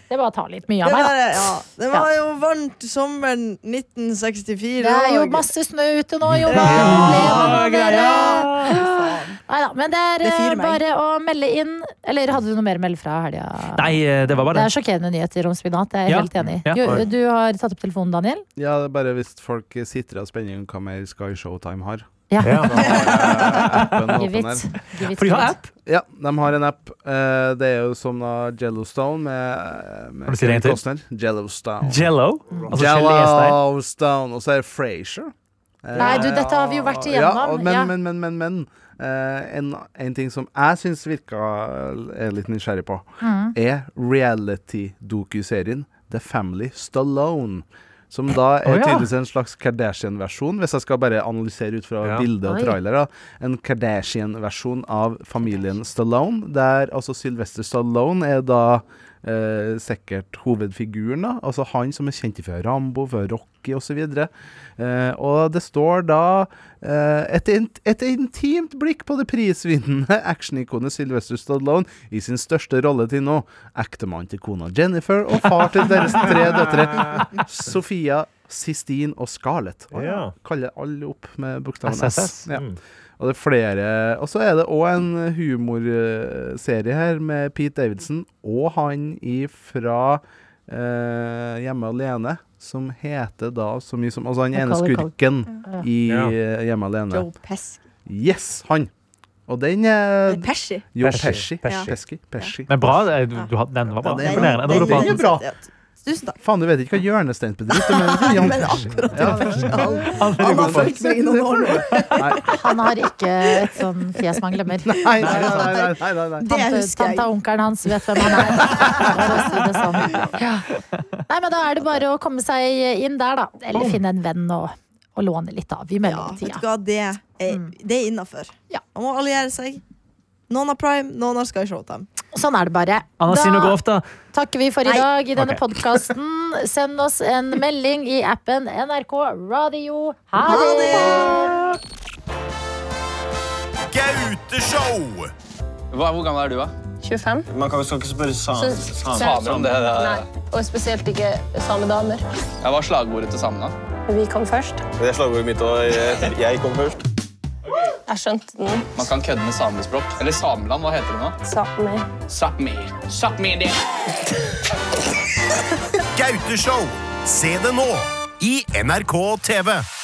[SPEAKER 3] det bare tar litt mye
[SPEAKER 4] det,
[SPEAKER 3] av meg,
[SPEAKER 4] var,
[SPEAKER 3] da.
[SPEAKER 4] ja. det var jo varmt sommeren 1964.
[SPEAKER 3] Det er jo
[SPEAKER 4] og-
[SPEAKER 3] masse snø ute nå, jo. Hva
[SPEAKER 2] Ja,
[SPEAKER 3] er problemet med dere?
[SPEAKER 2] greia.
[SPEAKER 3] Neida, men det er
[SPEAKER 4] Det
[SPEAKER 3] eh,
[SPEAKER 4] fyrer meg.
[SPEAKER 3] bare å melde inn. Eller hadde du noe mer å melde fra helga?
[SPEAKER 2] Nei, eh, det var
[SPEAKER 3] Det
[SPEAKER 2] bare
[SPEAKER 3] er sjokkerende nyheter om spinat. Det er jeg
[SPEAKER 2] Ja.
[SPEAKER 3] helt enig i.
[SPEAKER 2] Ja.
[SPEAKER 3] Du, du har tatt opp telefonen, Daniel?
[SPEAKER 5] Ja, det er bare hvis folk sitter av spenning hva mer Sky Showtime har.
[SPEAKER 2] (laughs)
[SPEAKER 3] Ja.
[SPEAKER 6] Ja.
[SPEAKER 5] Da har jeg appen
[SPEAKER 3] Give
[SPEAKER 5] åpen her.
[SPEAKER 3] it. Give it,
[SPEAKER 2] For de har
[SPEAKER 3] give it.
[SPEAKER 2] app.
[SPEAKER 5] Ja, de har en app. Eh, Det er jo som da Jellostone med,
[SPEAKER 2] Kan du
[SPEAKER 5] med
[SPEAKER 2] si det en
[SPEAKER 5] Kevin
[SPEAKER 2] til?
[SPEAKER 5] Costner. Jellostone.
[SPEAKER 2] Jello. Altså geléstein.
[SPEAKER 5] Jellostone. Og så er det Frasier. Eh,
[SPEAKER 3] Nei, du, dette har vi jo vært igjennom,
[SPEAKER 5] Ja, og- men,
[SPEAKER 3] ja.
[SPEAKER 5] men, men, men, men. eh, en, en ting som jeg syns virka eh, er litt nysgjerrig på,
[SPEAKER 3] Mm.
[SPEAKER 5] er reality-dokuserien The Family Stallone. Som da
[SPEAKER 2] Å,
[SPEAKER 5] er
[SPEAKER 2] ja.
[SPEAKER 5] tydeligvis en slags Kardashian-versjon, hvis jeg skal bare analysere ut fra
[SPEAKER 6] Ja.
[SPEAKER 5] bilde og
[SPEAKER 3] Oi.
[SPEAKER 5] trailer. Da. En Kardashian-versjon av familien Stallone, der altså Sylvester Stallone er da eh, sikkert hovedfiguren. da Altså han som er kjent fra Rambo, fra Rocky osv. Eh, og det står da eh, et, int- et intimt blikk på det prisvinnende (laughs) actionikonet Sylvester Stallone i sin største rolle til nå. Ektemann til kona Jennifer og far til deres tre døtre Sofia, Sistine og Scarlett. Og
[SPEAKER 6] Ja.
[SPEAKER 5] Kaller alle opp med bokstaven S.
[SPEAKER 2] SSS.
[SPEAKER 5] Ja.
[SPEAKER 6] Mm.
[SPEAKER 5] Og det er flere Og så er det òg en humorserie her med Pete Davidson og han ifra eh, Hjemme alene, som heter da så mye som Altså han ene
[SPEAKER 3] Macaulay
[SPEAKER 5] skurken
[SPEAKER 3] Ja.
[SPEAKER 5] i
[SPEAKER 6] Ja.
[SPEAKER 5] eh, Hjemme alene.
[SPEAKER 4] Joe Pesci.
[SPEAKER 5] Yes, han! Og den er
[SPEAKER 4] Nei, Pesci.
[SPEAKER 5] Jo,
[SPEAKER 6] Pesci.
[SPEAKER 5] Pesci.
[SPEAKER 6] Pesci.
[SPEAKER 5] Pesci. Pesci.
[SPEAKER 2] Men bra, det- du, du, hadde- den var bra.
[SPEAKER 5] Ja, den-
[SPEAKER 2] Imponerende. Jeg
[SPEAKER 5] den-
[SPEAKER 2] trodde på den.
[SPEAKER 5] den- bra.
[SPEAKER 4] Tusen takk.
[SPEAKER 5] Faen, du vet ikke hva hjørnesteinsbedrift er, (laughs) men Jan
[SPEAKER 4] Men
[SPEAKER 5] Persen.
[SPEAKER 4] akkurat
[SPEAKER 5] Ja.
[SPEAKER 4] i personalen
[SPEAKER 5] Han
[SPEAKER 4] Han har fulgt med i noen år nå.
[SPEAKER 3] Han har ikke et sånn fjes man glemmer.
[SPEAKER 5] Nei, nei, nei. nei, nei, nei, nei.
[SPEAKER 4] Det
[SPEAKER 3] Tante,
[SPEAKER 4] husker
[SPEAKER 3] tante
[SPEAKER 4] jeg.
[SPEAKER 3] og onkelen hans vet hvem han er. For å si det sånn.
[SPEAKER 2] (laughs)
[SPEAKER 3] ja. Nei, men Da er det bare å komme seg inn der, da. Eller finne en venn og, og låne litt av i
[SPEAKER 4] Ja, vet du
[SPEAKER 3] mellomtida.
[SPEAKER 4] hva, det er, det er innafor.
[SPEAKER 3] Mm. Ja.
[SPEAKER 4] Man må alliere seg. Noen har Prime, noen har Sky Showtime.
[SPEAKER 3] Sånn er det bare.
[SPEAKER 2] Anna
[SPEAKER 3] Da
[SPEAKER 2] Synagov, da.
[SPEAKER 3] takker vi for i
[SPEAKER 4] Nei.
[SPEAKER 3] dag i denne
[SPEAKER 2] Ok.
[SPEAKER 3] podkasten. Send oss en melding i appen NRK Radio. Ha
[SPEAKER 4] Ha
[SPEAKER 3] det!
[SPEAKER 4] det!
[SPEAKER 7] Gauteshow!
[SPEAKER 8] hvor gammel er du, da?
[SPEAKER 9] 25.
[SPEAKER 7] Man kan, skal ikke spørre
[SPEAKER 9] Så,
[SPEAKER 7] samer.
[SPEAKER 9] så,
[SPEAKER 8] Samer om det.
[SPEAKER 9] Nei, og spesielt ikke samedamer.
[SPEAKER 8] Jeg var slagordet til samene.
[SPEAKER 9] Vi kom først.
[SPEAKER 7] Det er slagordet mitt òg. Jeg kom først.
[SPEAKER 9] Jeg skjønte den.
[SPEAKER 8] Man kan kødde med samespråk. Eller sameland, hva heter det nå?
[SPEAKER 9] Samer.
[SPEAKER 8] Sápmi. Sápmi det.
[SPEAKER 7] Gauteshow. Se det nå i NRK TV.